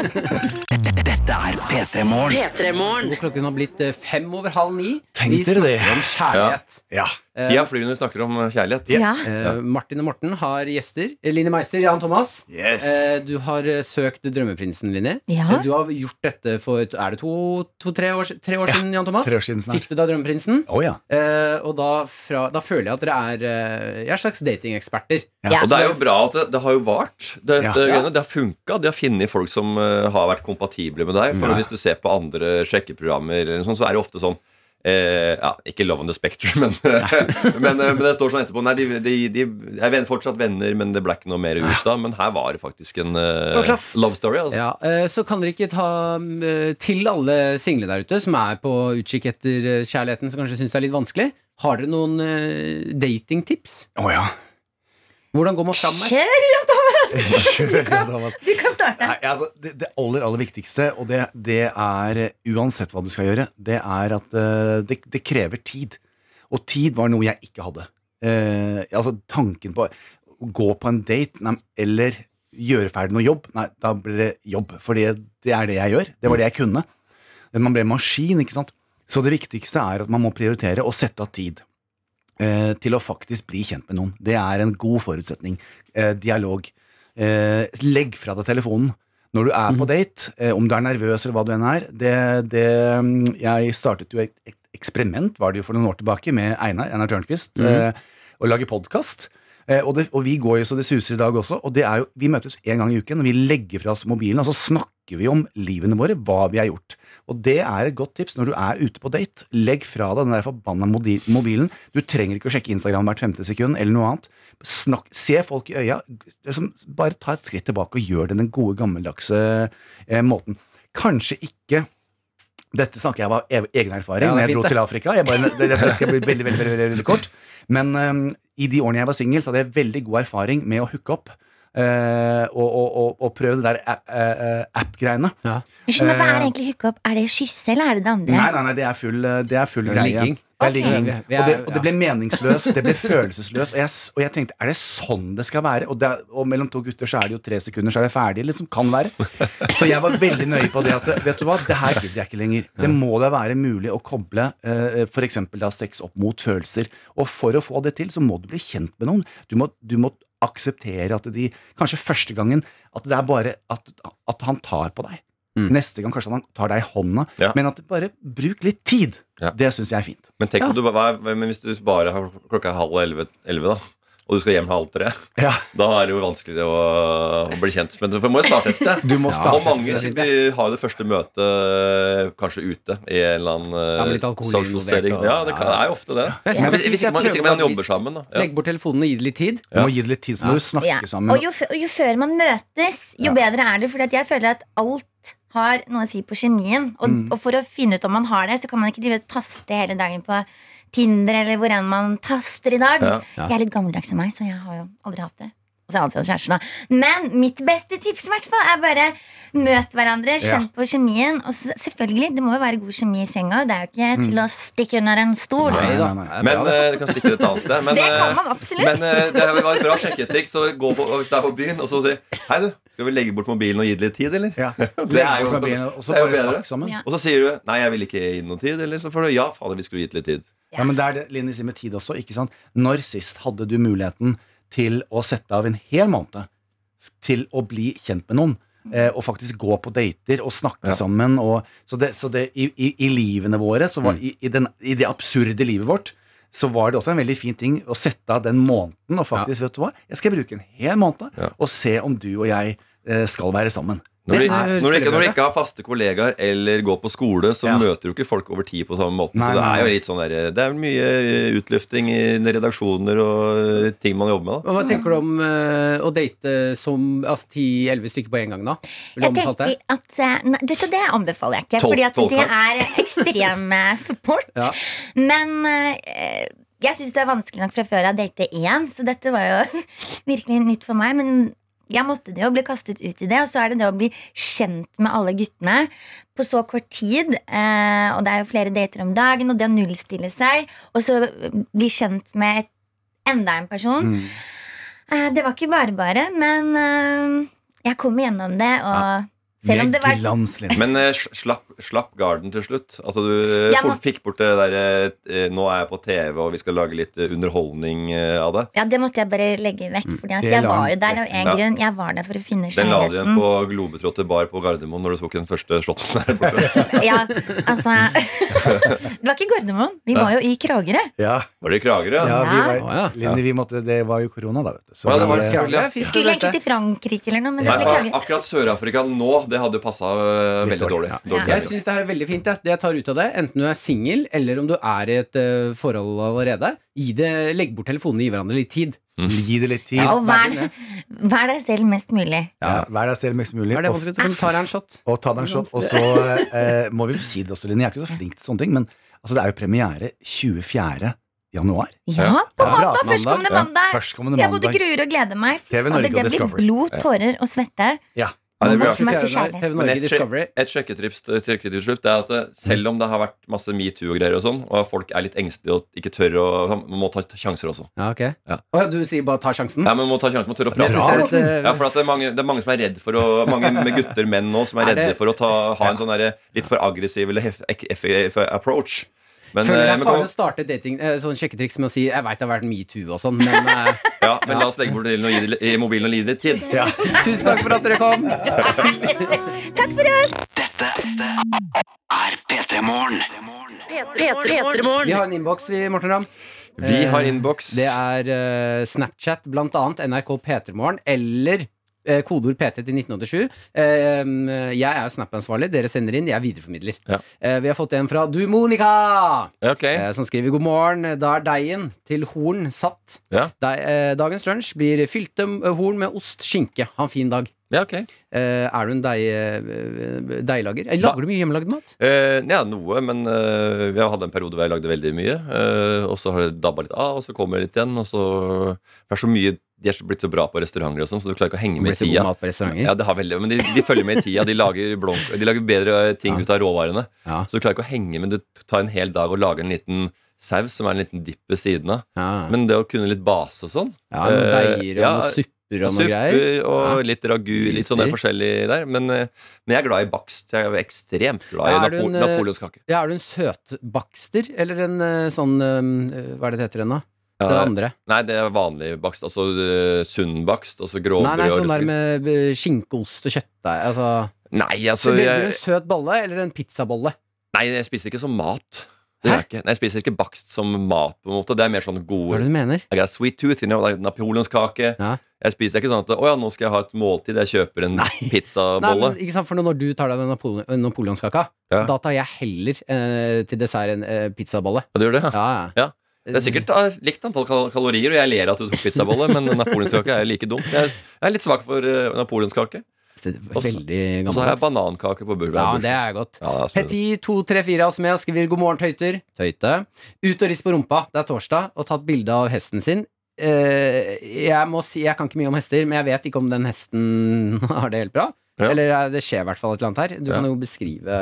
S2: Dette er P3 Morgen.
S3: P3-morgen.
S4: Klokken har blitt eh, fem over halv ni.
S9: Tenk
S4: Vi
S9: dere det.
S4: snakker om kjærlighet.
S9: Ja.
S7: Tida flyr når vi snakker om kjærlighet.
S10: Ja.
S4: Eh, Martin og Morten har gjester. Eh, Line Meister, Jan Thomas.
S9: Yes.
S4: Eh, du har eh, søkt Drømmeprinsen, Linni.
S10: Ja.
S4: Eh, Du har gjort dette for er det to, to, tre år, si- tre år siden, Jan Thomas.
S9: tre år siden snart.
S4: Fikk du da Drømmeprinsen?
S9: Å ja.
S4: Eh, og da, fra, da føler jeg at dere er eh, Jeg er slags datingeksperter.
S7: Og det er jo bra at det, det har jo vart. Det,
S9: Ja.
S7: det, greiene. det har funka. De har funnet folk som eh, har vært kompatible med deg. For
S9: Ja.
S7: hvis du ser på andre sjekkeprogrammer, eller noe sånt, så er det ofte sånn eh, ja, Ikke Love on the Spectrum, men, men, eh, men det står sånn etterpå. Nei, de, de, de er ven- fortsatt venner, men det ble ikke noe mer ut av. Men her var det faktisk en eh, love story. Altså.
S4: Ja, eh, så kan dere ikke ta mm, eh, til alle single der ute som er på utkikk etter eh, kjærligheten, som kanskje syns det er litt vanskelig. Har dere noen eh, datingtips?
S9: Å ja.
S4: Hvordan går man fram her?
S10: Kjør, Jan Thomas!
S9: Kjør, Jan Thomas.
S10: Du kan starte.
S9: Nei, altså, det, det aller, aller viktigste, og det, det er eh, uansett hva du skal gjøre, det er at eh, det, det krever tid. Og tid var noe jeg ikke hadde. Eh, altså tanken på å gå på en date nei, eller gjøre ferdig noe jobb, nei, da blir det jobb. For det, det er det jeg gjør. Det var det jeg kunne. Men man ble en maskin, ikke sant. Så det viktigste er at man må prioritere og sette av tid. eh, Til å faktisk bli kjent med noen. Det er en god forutsetning. Eh, Dialog. Eh, legg fra deg telefonen når du er på date, eh, om du er nervøs eller hva du enn er. Det, det, mm, jeg startet jo et, et eksperiment, var det jo for noen år tilbake, med Einar, Einar Tørnquist, eh, og lager podkast. Eh, og, det, og vi går jo så det suser i dag også, og det er jo, vi møtes en gang i uken, og vi legger fra oss mobilen, og så snakker vi om livene våre, hva vi har gjort. Og det er et godt tips når du er ute på date. Legg fra deg den der forbanna modi- mobilen. Du trenger ikke å sjekke Instagram hvert femte sekund eller noe annet. Snakk, se folk i øya. Liksom, bare ta et skritt tilbake og gjør det den gode, gammeldagse eh, måten. Kanskje ikke dette snakker jeg av ev- egen erfaring
S4: Ja, det er
S9: når jeg dro
S4: fint, det.
S9: til Afrika. Jeg bare, det, dette skal bli veldig, veldig, veldig, veldig, veldig kort. Men eh, i de årene jeg var singel, så hadde jeg veldig god erfaring med å hooke opp. eh, og, og, og, og prøve det der app- eh, eh, app-greiene.
S10: Unnskyld, men Hva er egentlig hookup? Er det kysse, eller er det det andre?
S9: eh, Nei, nei, nei, det er full, eh, det er full
S4: Det er
S9: greie.
S4: ligging.
S9: Det er
S4: Ok.
S9: ligging.
S4: Vi- vi er-
S9: og, det, og
S4: ja.
S9: det ble meningsløst, det ble følelsesløst. Og jeg, s- og jeg tenkte, er det sånn det skal være? Og, det, er- og mellom to gutter så er det jo tre sekunder, så er det ferdig. Liksom, kan være. Så jeg var veldig nøye på det at vet du hva, det her gidder jeg ikke lenger. Det må da være mulig å koble eh, for eksempel da sex opp mot følelser. Og for å få det til, så må du bli kjent med noen. Du må, du må akseptere at de Kanskje første gangen at det er bare at, at han tar på deg.
S4: Mm.
S9: Neste gang kanskje han tar deg i hånda.
S7: Ja.
S9: Men at det bare bruk litt tid.
S7: Ja.
S9: Det syns jeg er fint.
S7: Men, tenk om du, hva, er- men hvis du bare har klokka er halv elleve, elleve, da, og du skal hjem halv tre
S9: Ja.
S7: Da er det jo vanskeligere å, å bli kjent. Men du må jo starte et sted.
S9: Du må starte
S7: og mange
S9: et
S4: sted.
S7: de har jo det første møtet kanskje ute i en eller annen eh,
S4: Ja, med litt alkohol involvert
S7: sosialisering.
S4: og-
S7: Ja, det kan, det er jo ofte det.
S4: Jeg synes
S7: Men
S4: det er
S7: hvis,
S4: fint, jeg
S7: hvis, ikke man, hvis
S4: prøver
S7: ikke man
S4: å
S7: jobber
S4: bevisst
S7: sammen, da. Ja.
S4: Legg bort telefonen og gi det litt tid.
S9: Du må gi det litt tid, så må du snakke
S10: Ja.
S9: sammen.
S10: Og jo, f- og jo før man møtes, jo bedre er det. For jeg føler at alt har noe å si på kjemien. Og, og for å finne ut om man har det, så kan man ikke drive og taste hele dagen på Tinder eller hvor enn man taster i dag.
S7: Ja.
S4: Ja.
S10: Jeg er litt gammeldags av meg, så jeg har jo aldri hatt det. Og så har jeg alltid hatt kjæreste, da. Men mitt beste tips i hvert fall er bare møt hverandre, kjenn på kjemien. Og s- selvfølgelig, det må jo være god kjemi i senga. Det er jo ikke til å stikke under en stol.
S9: Nei,
S4: da.
S9: nei, nei.
S4: Det er bra,
S7: Men
S4: det.
S7: eh, du kan stikke det et annet sted. Men,
S10: Det kan
S7: eh,
S10: man absolutt.
S7: men eh, det var et bra sjekketriks. Så gå på, hvis du er på byen, og så si Hei, du. Skal vi legge bort mobilen og gi det litt tid, eller?
S9: Ja.
S7: Det er jo,
S9: Og så
S7: det er jo
S9: bare
S7: bedre.
S9: snakk sammen.
S10: Ja.
S7: Og så sier du Nei, jeg vil ikke gi den noe tid. Eller så får du Ja, fader, vi skulle gitt litt tid.
S9: Ja, men det er det Linni sier med tid også. ikke sant? Når sist hadde du muligheten til å sette av en hel måned til å bli kjent med noen?
S10: Mm.
S9: Eh, og faktisk gå på dater og snakke
S7: Ja.
S9: sammen. Og, så det, så det, i, i, i livene våre, så
S7: Mm.
S9: var, i, i, den, i det absurde livet vårt, så var det også en veldig fin ting å sette av den måneden og faktisk, vet du hva, jeg skal bruke en hel måned
S7: Ja.
S9: og se om du og jeg eh, skal være sammen.
S7: Når du,
S4: Det er-
S7: når, du ikke, når du ikke har faste kollegaer eller går på skole, så
S9: Ja.
S7: møter du ikke folk over tid på samme måten.
S9: Nei,
S7: så det
S9: nei,
S7: er jo
S9: nei.
S7: litt sånn der, Det er mye eh, utløfting i redaksjoner og eh, ting man jobber med. da
S4: Og Hva tenker du om eh, å date som altså, 10-11 stykker på en gang, da? Vil du
S10: Jeg
S4: anbefale
S10: tenker
S4: det?
S10: at eh, nei, du, vet du, Det anbefaler jeg ikke,
S7: Tolv-
S10: Fordi at det
S7: tolvfart.
S10: er ekstrem eh, support.
S4: Ja.
S10: Men eh, jeg syns det er vanskelig nok fra før jeg dater én, så dette var jo virkelig nytt for meg. Men jeg måtte det jo bli kastet ut i det, og så er det det å bli kjent med alle guttene på så kort tid. eh, og det er jo flere dater om dagen, og det å nullstille seg, og så bli kjent med et- enda en person. Eh, Det var ikke bare bare, men eh, jeg kom gjennom det. Og selv om
S9: Med
S10: det var
S9: glans, Linni.
S7: Men eh, sl- slapp, slapp garden til slutt. Altså Du eh,
S10: Ja,
S7: fort-
S10: man-
S7: fikk bort det derre eh, Nå er jeg på TV, og vi skal lage litt eh, underholdning eh, av det.
S10: ja, Det måtte jeg bare legge vekk. Fordi at
S9: Det
S10: jeg
S9: la
S10: var
S9: han
S10: jo der av en
S7: Ja.
S10: grunn. Jeg var der for å finne
S7: Den la du igjen
S10: kjærligheten.
S7: på globetrotter bar på Gardermoen når du tok den første shoten der borte.
S10: Ja, altså Det var ikke Gardermoen. Vi var jo i Kragerø.
S9: Ja,
S7: Var det i Kragerø?
S9: ja, vi var,
S4: Å, ja.
S9: Linni, vi måtte, det var jo korona, da, vet du.
S7: Å,
S9: Så
S7: ja, det var
S9: vi,
S7: selvfølgelig,
S9: eh,
S7: ja.
S4: Det er fint å
S10: Skulle
S4: date.
S10: egentlig til Frankrike eller noe, men det
S7: Nei,
S10: ble
S7: faen,
S10: Kragerø.
S7: akkurat Sør-Afrika nå, det hadde passa
S9: Litt
S7: veldig
S9: dårlig.
S7: dårlig. dårlig.
S4: Jeg syns det her er veldig fint. Ja. Det jeg tar ut av det, enten du er singel eller om du er i et eh, forhold allerede, gi det, legg bort telefonene, gi hverandre litt tid.
S9: Gi det litt tid.
S10: Og vær, vær deg selv mest mulig.
S9: Ja, vær deg selv mest mulig.
S4: Er det
S9: og-
S4: vanskelig? Så tar jeg en shot.
S9: Og ta deg en shot. Og så eh, må vi jo si det også, Linni. Jeg er ikke så flink til sånne ting, men altså, det er jo premiere 24. januar.
S10: Ja, på
S4: Ja,
S10: mandag!
S4: mandag.
S10: Førstkommende
S7: Ja,
S10: mandag.
S9: Førstkommende
S10: Jeg både
S9: mandag.
S10: gruer og gleder meg. Fy
S9: TV
S10: faen,
S9: Norge
S10: Det,
S9: og
S10: det blir
S9: Discovery.
S10: blod, tårer og svette.
S9: Ja.
S7: Ja, det
S10: Og
S7: blir
S10: masse, masse kjærlighet.
S4: TV
S7: Men
S4: Norge
S7: et,
S4: Discovery.
S7: sjek- et sjekketips til- til til slutt Det er at eh, selv om det har vært masse metoo og greier og sånn, og folk er litt engstelige og ikke tør å sånn, Man må ta ta sjanser også.
S4: Ja, ok.
S7: Ja.
S4: Å, ja, du sier bare ta sjansen?
S7: Ja, men man må ta sjansen med å tørre å
S4: Jeg
S7: prate.
S4: synes det er litt, eh,
S7: Ja, for at det, er mange, det er mange som er redd for å Mange med gutter, menn nå, som er
S4: Er det-
S7: redde for å ta, ha en sånn derre litt for aggressiv eller hef, ek- eff- eff- approach. Men,
S4: Føler
S7: eh,
S4: jeg
S7: men,
S4: farlig
S7: kom,
S4: å starte dating eh, Sånn sjekketriks med å si 'jeg veit det har vært metoo' og sånn, men eh,
S7: ja, men la oss legge bort mobilen og gi det litt- i mobilen og gi det litt tid.
S4: Tusen takk for at dere kom!
S10: Takk for oss!
S2: Er P3 Morgen.
S4: Vi
S3: Petremorgen.
S4: har en innboks, vi, Morten Ramm.
S7: Vi har innboks.
S4: Det er eh, Snapchat, blant annet NRK P3morgen, eller eh, kodeord P3 til 1987. Eh, jeg er jo Snap-ansvarlig. Dere sender inn, jeg videreformidler.
S7: Ja.
S4: Eh, vi har fått en fra du, Monica!
S7: Ok.
S4: Eh, som skriver god morgen. Da er deigen til horn satt.
S7: Ja.
S4: Dei, eh, dagens lunsj blir fylte eh, horn med ost, skinke. Ha en fin dag.
S7: Ja, ok.
S4: Eh, er du en deig, eh, deiglager? Eh, Lager du mye hjemmelagd mat?
S7: Eh, ja, noe, men eh, jeg hadde en periode hvor jeg lagde veldig mye. Eh, og så har det dabba litt av, og så kommer det litt igjen. Og så, det er så mye, de er så blitt så bra på restauranter, og sånn, så du klarer ikke å henge
S4: Blir
S7: med i
S4: så god
S7: tida.
S4: mat på restauranter.
S7: Ja, det har veldig, men de, de følger med i tida. De lager, blomk- de lager bedre eh, ting ut av råvarene.
S4: Ja.
S7: Så du klarer ikke å henge med. Du tar en hel dag og lager en liten saus som er en liten dipp ved siden av.
S4: Ja.
S7: Men det å kunne litt base og sånn
S4: Ah, Ja, noen
S7: eh,
S4: deiger og
S7: ja,
S4: noen supper og noe greier.
S7: Supper og litt ragu, litt sånn der
S4: Biter.
S7: forskjellig der. Men, eh, men jeg er glad i bakst. Jeg er ekstremt glad
S4: Ja, er
S7: i
S4: du
S7: napo
S4: en, eh,
S7: napoleonskake.
S4: Ja, er du en søtbakster, eller en eh, sånn eh, Hva er det det heter igjen, da? Den
S7: Ja,
S4: andre.
S7: Nei, det er vanlig bakst. Altså eh, sunn bakst. Altså gråbrød
S4: Nei, nei,
S7: og
S4: sånn der
S7: russegryt.
S4: med eh, skinkeost og kjøttdeig. Altså,
S7: Nei, altså
S4: velger du
S7: jeg,
S4: en søt bolle eller en pizzabolle?
S7: nei, jeg spiser ikke som mat. Det gjør jeg ikke. Nei, jeg spiser ikke bakst som mat, på en måte. Det er mer sånn
S4: Hva er
S7: gode
S4: det du mener?
S7: Jeg har sweet tooth, you know, like napoleonskake.
S4: Ja.
S7: Jeg spiser ikke sånn at Å ja, nå skal jeg ha et måltid. Jeg kjøper en
S4: Nei,
S7: pizzabolle.
S4: men, ikke sant, for Når du tar deg den napole- eh, napoleonskaka,
S7: Ja.
S4: da tar jeg heller eh, til dessert en eh, pizzabolle.
S7: Ja, du gjør det, ja.
S4: Ja, ja.
S7: Ja. Det er sikkert eh, likt antall kal- kalorier, og jeg ler at du tok pizzabolle, men napoleonskake er like dumt. Jeg er- jeg er litt svak for eh, napoleonskake.
S4: Veldig
S7: Og så har jeg
S4: gammeldags.
S7: banankake på burger.
S4: Ja, det er godt.
S7: Ja, det er spennende.
S4: Petit234 er også med og skriver god morgen, tøyter. Tøyte. Ut og rist på rumpa. Det er torsdag, og tatt bilde av hesten sin. Eh, jeg må si, jeg kan ikke mye om hester, men jeg vet ikke om den hesten har det helt bra.
S7: Ja.
S4: Eller eh, det skjer i hvert fall et eller annet her. Du
S7: Ja.
S4: kan jo beskrive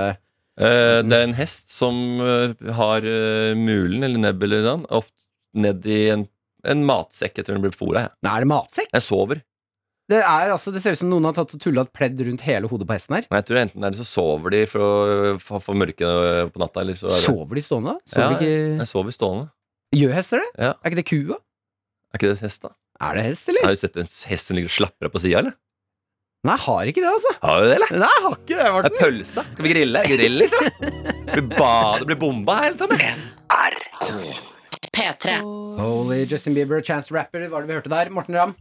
S7: Eh, det er en hest som eh, har eh, mulen, eller nebb eller noe, opp ned i en, en matsekk etter den blir fôra. jeg.
S4: Nei, er det matsekk?
S7: Jeg sover.
S4: Det, er, altså, det ser ut som noen har tatt og tulla et pledd rundt hele hodet på hesten her.
S7: Nei, jeg tror enten er det så sover de for å få- få mørke eh, på natta, eller så er det
S4: Sover de stående?
S7: ja,
S4: Sover de ikke...
S7: Jeg sover stående.
S4: Gjør hester det?
S7: Ja.
S4: Er ikke det kua?
S7: Er ikke det hest, da?
S4: Er det hest, eller?
S7: Har du sett en hest som ligger og slapper av på sida, eller?
S4: Nei, har ikke det, altså.
S7: Har du det, eller?
S4: Nei, jeg har ikke det,
S7: Det
S4: Morten.
S7: er pølse. Skal vi grille? Grill, liksom. Blir ba- Det blir bomba her, Tommy.
S4: Eh.
S3: P3.
S4: Holy Justin Bieber, Chance the Rapper, hva var det vi hørte der? Morten Ramm.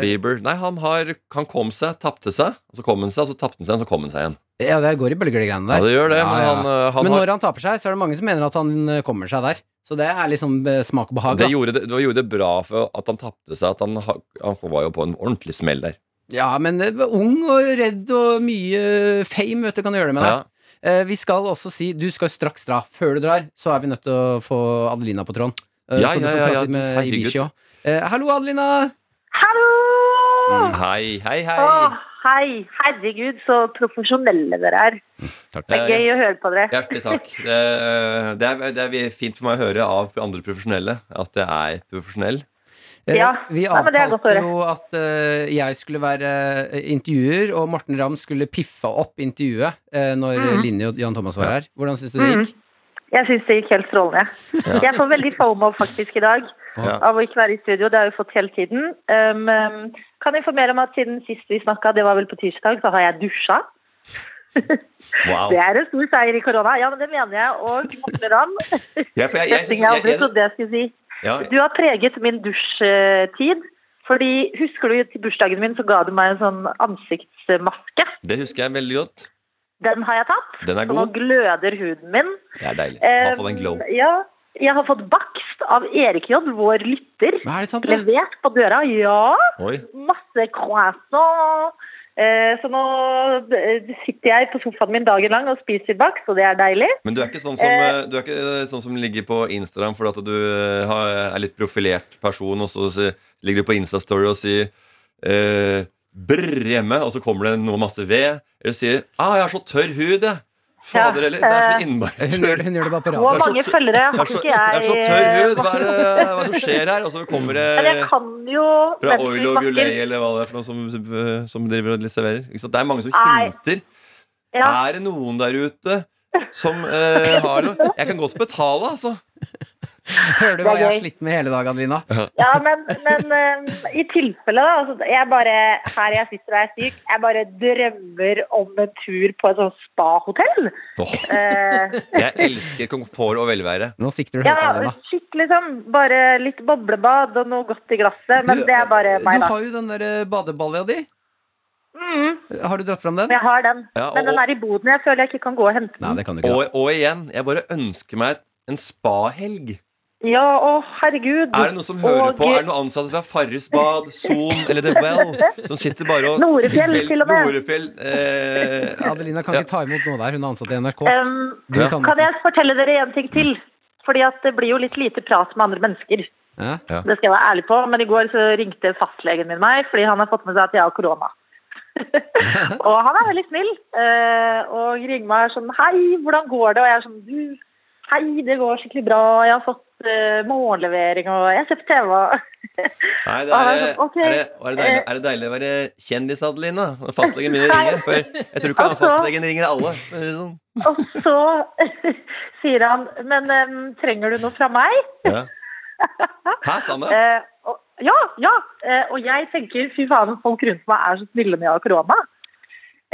S4: Eh,
S7: Bieber. Nei, han, har, han kom seg, tapte seg, og så kom han seg, og så tapte han seg, og så kom han seg igjen.
S4: Ja, det går i bølger, de greiene
S7: Ja,
S4: der.
S7: det gjør det,
S4: Ja,
S7: men
S4: ja.
S7: han, eh, han
S4: Men
S7: har,
S4: når han taper seg, så er det mange som mener at han eh, kommer seg der. Så det er liksom eh, smak og behag.
S7: det,
S4: Da.
S7: gjorde det, det gjorde det bra for at han tapte seg, at han, ha- han var jo på en ordentlig smell der.
S4: Ja, men eh, ung og redd og mye eh, fame, vet du, kan gjøre det med deg.
S7: Ja.
S4: Eh, vi skal også si Du skal straks dra. Før du drar, så er vi nødt til å få Adelina på tråden. Eh,
S7: Ja,
S4: så du får
S7: ja, ja,
S4: prate
S7: ja,
S4: litt med
S7: herregud.
S4: Ibishi også. Eh, hallo, Adelina!
S8: Hallo!
S7: Hei, hei, hei.
S8: Å, hei. Herregud, så profesjonelle dere er. Det er
S7: Eh,
S8: gøy å høre på dere.
S7: Hjertelig takk. Det, det, er, det er fint for meg å høre av andre profesjonelle at jeg er profesjonell.
S4: Eh,
S8: Ja,
S4: vi
S8: nei, men det er godt
S4: avtalte
S8: å høre.
S4: jo at eh, jeg skulle være eh, intervjuer, og Morten Ramm skulle piffe opp intervjuet eh, når
S8: Mm.
S4: eh, Linni og Jan Thomas var her. Hvordan syns du det gikk?
S8: Jeg syns det gikk helt strålende. Jeg får veldig fomo faktisk i dag
S7: Ja.
S8: av å ikke være i studio. Det har jeg jo fått hele tiden. Um, um, kan informere om at siden sist vi snakka, det var vel på tirsdag, så har jeg dusja.
S7: Wow.
S8: Det er en stor seier i korona. Ja, men det mener jeg. Og Morten Ramm,
S7: Jeg, for jeg, jeg,
S8: setting jeg
S7: synes-
S8: aldri
S7: jeg,
S8: trodde jeg skulle si.
S7: jeg,
S8: Du har preget min dusjtid. Fordi Husker du til bursdagen min, så ga du meg en sånn ansiktsmaske.
S7: ja, det husker jeg veldig godt.
S8: Den har jeg tatt.
S7: Den er
S8: Så nå
S7: god.
S8: gløder huden min.
S7: Det er deilig. Ha fått en
S8: Eh,
S7: glow.
S8: Ja, jeg har fått bakst av Erik J, vår lytter.
S4: Hva er det sant? Det?
S8: Levert på døra, ja.
S7: Oi.
S8: Masse croissant. Eh, Så nå eh, sitter jeg på sofaen min dagen lang og spiser bakst, og det er deilig.
S7: Men du er ikke sånn som,
S8: Eh.
S7: eh, du er ikke eh, sånn som ligger på Instagram fordi at du eh, har- er litt profilert person, og så si- ligger du på Instastory og sier eh, brr hjemme, og så kommer det noe masse ved, eller sier ah, 'jeg har så tørr hud', jeg. Fader heller. Det er så innmari
S4: Hun,
S7: tørr.
S4: gjør- hun gjør det bare på
S8: Og
S4: radio.
S7: er så
S8: mange
S7: tø-
S8: følgere
S7: Jeg
S8: har
S7: er så,
S8: eh. ikke
S7: jeg
S8: jeg.
S7: er så tørr hud. Hva
S8: eh,
S7: er, det, hva er det som skjer her? Og så kommer
S8: Men jeg
S7: det
S8: kan jo
S7: fra
S8: Vent litt,
S7: Oil og
S8: Martin.
S7: Gulay eller hva det er for noe som, som driver og serverer. Ikke sant? Det er mange som
S8: Nei.
S7: hinter.
S8: Ja.
S7: Er det noen der ute som eh, har noe Jeg kan godt betale, altså.
S4: Hører du
S8: Det
S4: hva
S8: er
S4: jeg har
S8: gøy.
S4: slitt med hele dag, Adelina?
S8: Ja, men, men eh, i tilfelle, da. Altså, jeg bare, her jeg sitter og er syk, jeg bare drømmer om en tur på et sånt spahotell.
S7: Åh,
S8: Eh,
S7: jeg elsker komfort og velvære.
S4: Nå sikter du høyt,
S8: ja,
S4: Adelina.
S8: shit, liksom. Bare litt boblebad og noe godt i glasset. Men
S4: Du, eh,
S8: det er bare
S4: Du
S8: meg, da.
S4: har jo den der eh, badebalja di.
S8: Mm,
S4: Har du dratt fram den?
S8: jeg har den.
S7: Ja, og,
S8: Men den
S7: og,
S8: er i boden. Jeg føler jeg ikke kan gå og hente
S4: Nei,
S8: den.
S4: det kan du ikke.
S7: og, igjen, jeg bare ønsker meg en spahelg.
S8: Ja, å herregud.
S7: Er det noen som hører
S8: Og
S7: på? Er det noen ansatte fra Farris bad, Son eller The Well som sitter bare og
S8: Norefjell,
S7: Vel-
S8: til og med.
S7: Norefjell.
S4: da.
S7: Eh,
S4: Adelina kan ikke ta imot noe der. Hun er ansatt i NRK.
S8: ehm,
S4: Du
S7: Ja.
S4: kan
S8: Kan jeg fortelle dere en ting til? Fordi at det blir jo litt lite prat med andre mennesker.
S4: Ja.
S7: Ja.
S8: Det skal jeg være ærlig på, men i går så ringte fastlegen min meg fordi han har fått med seg at jeg har korona. og han er veldig snill eh, og ringer meg sånn Hei, hvordan går det? Og jeg er sånn du, Hei, det går skikkelig bra. Jeg har fått eh, morgenlevering og jeg ser på TV.
S7: Nei, det
S8: Ah,
S7: er,
S8: det er sånn, ok.
S7: er, det, er, det deilig, er det deilig å være kjendis, Adelina? Når Fastlegen min ringer. For jeg tror ikke han
S8: Altså.
S7: fastlegen ringer alle. men sånn.
S8: og så sier han Men em, trenger du noe fra meg?
S7: Ja. Hæ, sa han det?
S8: Eh, og, ja, ja. Eh, og jeg tenker fy faen, folk rundt meg er så snille når jeg har korona.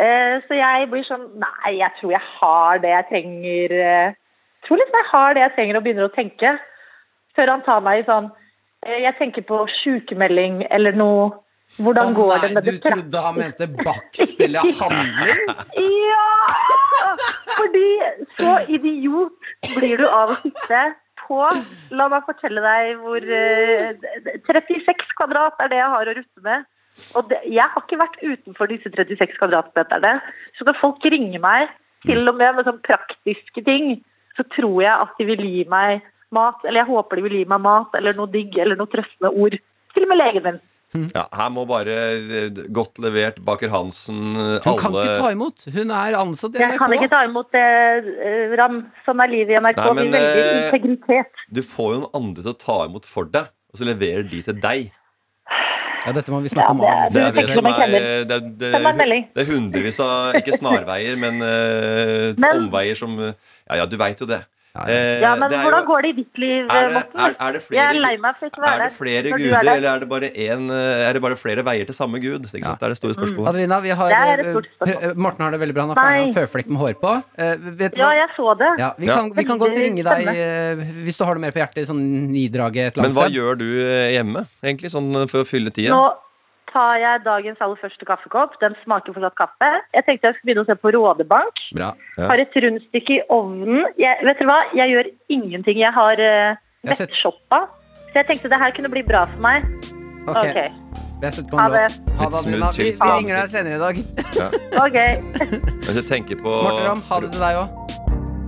S8: Eh, så jeg blir sånn Nei, jeg tror jeg har det jeg trenger. Eh, tror liksom jeg har det jeg trenger, og begynner å tenke. Før han tar meg i sånn eh, Jeg tenker på sykemelding eller noe. Hvordan går det med
S4: du
S8: det praktiske?
S4: trodde han mente bakst eller handling?
S8: Ja! Fordi så idiot blir du av å sitte på La meg fortelle deg hvor eh, 36 kvadrat er det jeg har å rutte med. Og det, jeg har ikke vært utenfor disse 36 kvadratmeterne. Så når folk ringer meg, til og med med sånne praktiske ting, så tror jeg at de vil gi meg mat. Eller jeg håper de vil gi meg mat eller noe digg eller noe trøstende ord. Til og med legen min.
S7: Ja, her må bare eh, godt levert Baker Hansen
S4: Hun kan
S7: alle
S4: ikke ta imot. Hun er ansatt i
S8: Jeg kan ikke
S4: NRK.
S8: ta imot det, eh, Ram. Sånn er livet i NRK.
S7: Nei, men,
S8: vi velger
S7: eh,
S8: integritet.
S7: Du får jo noen andre til å ta imot for deg, og så leverer de til deg.
S4: Ja, dette må vi snakke om.
S8: Ja,
S7: Det er det
S8: tenker
S7: som
S8: som en
S7: er det,
S8: klemmer.
S7: er- det,
S8: Send meg en melding.
S7: det er hundrevis av ikke snarveier, men, eh,
S8: Men-
S7: omveier som eh, Ja, ja, du veit jo det.
S4: Ja, ja.
S7: Eh,
S8: Ja, men
S7: det er
S8: hvordan
S7: jo-
S8: går det i ditt liv,
S7: er det, er,
S8: Morten?
S7: er det
S8: Jeg er
S7: flere,
S8: lei meg for ikke å
S7: er
S8: være
S7: det flere
S8: når du er
S7: guder,
S8: der.
S7: eller er det, bare en, eh, er det bare flere veier til samme gud? Ikke sant? Det er det
S8: Mm.
S7: store spørsmålet.
S4: Adelina, vi har,
S8: Det er et
S4: eh,
S8: stort spørsmål.
S4: eh, Morten har det veldig bra. Han har ferdig
S8: Nei.
S4: en føflekk med hår på. Eh, vet du
S8: Ja,
S4: hva?
S8: jeg så det.
S4: Ja, vi,
S7: Ja.
S4: Kan, vi kan godt
S8: Veldig
S4: ringe deg eh, hvis du har noe mer på hjertet. i Sånn nidraget et eller
S7: Men
S4: annet
S7: hva
S4: sted.
S7: gjør du eh, hjemme, egentlig, sånn eh, for å fylle tida?
S8: Nå tar jeg dagens aller første kaffekopp. Den smaker fortsatt kaffe. Jeg tenkte jeg skulle begynne å se på Rådebank.
S4: Bra.
S7: Ja.
S8: Har et rundstykke i ovnen. Jeg, vet dere hva? Jeg gjør ingenting. Jeg har uh,
S4: Jeg har sett-
S8: vettshoppa. Så jeg tenkte det her kunne bli bra for meg.
S4: Ok,
S8: Ok.
S4: Jeg setter på
S8: Ha
S4: en
S8: det.
S4: låt. Ha
S7: Litt
S4: det, Adelina.
S7: smooth
S4: Vi,
S7: chill.
S4: vi ringer deg senere i dag.
S8: Ok.
S7: Mens jeg tenker på
S4: Morten Ramm, ha det til deg òg.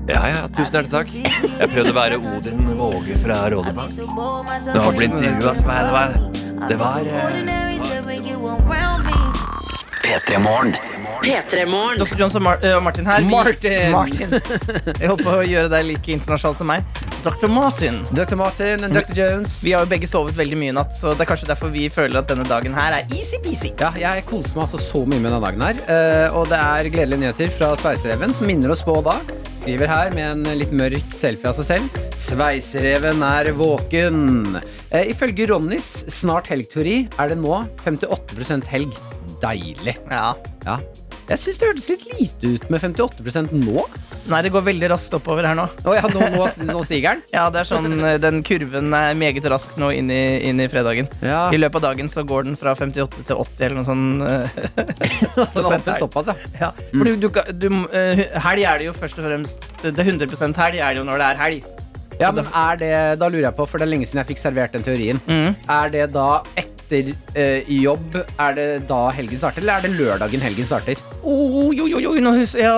S7: Ja, ja, tusen hjertelig takk. Jeg prøvde å være Odin Våge fra Rådebank. Det har blitt intervjua som meg. Det var, det var eh,
S2: P3 Morgen.
S3: P3-morgen.
S5: Dr. Johnson Mar eh, Martin her. Vi-
S4: Martin!
S5: Martin. Jeg håper å gjøre deg like internasjonal som meg. Dr. Martin.
S4: Dr. Martin og Dr. Jones.
S5: Vi har jo begge sovet veldig mye i natt, så det er kanskje derfor vi føler at denne dagen her er easy-peasy.
S4: Ja, jeg koser meg altså så mye med denne dagen her. Eh, og det er gledelige nyheter fra Sveisereven, som minner oss på da. Skriver her med en litt mørk selfie av seg selv. Sveisereven er våken. Eh, ifølge Ronnys snart helgteori er det nå 58 helg. Deilig.
S5: Ja.
S4: Ja. Jeg syns det hørtes litt lite ut med 58 nå.
S5: Nei, det går veldig raskt oppover her nå.
S4: Å ja, nå, nå, nå stiger den.
S5: Ja, det er sånn, eh, Den kurven er meget rask nå inn i, inn i fredagen.
S4: Ja.
S5: I løpet av dagen så går den fra 58 til 80 eller noe sånn. eh, Mm.
S4: Den
S5: prosent
S4: åpner
S5: her.
S4: såpass, ja.
S5: Ja. For du, du, kan- du, eh, helg er det jo først og fremst Det er 100 helg er det jo når det er helg.
S4: ja men er det, da lurer jeg på, for det er lenge siden jeg fikk servert den teorien.
S5: Mm.
S4: Er det da etter eh, jobb, er det da helgen starter, eller er det lørdagen helgen starter?
S5: Oh, jo, jo, jo, nå, hus ja,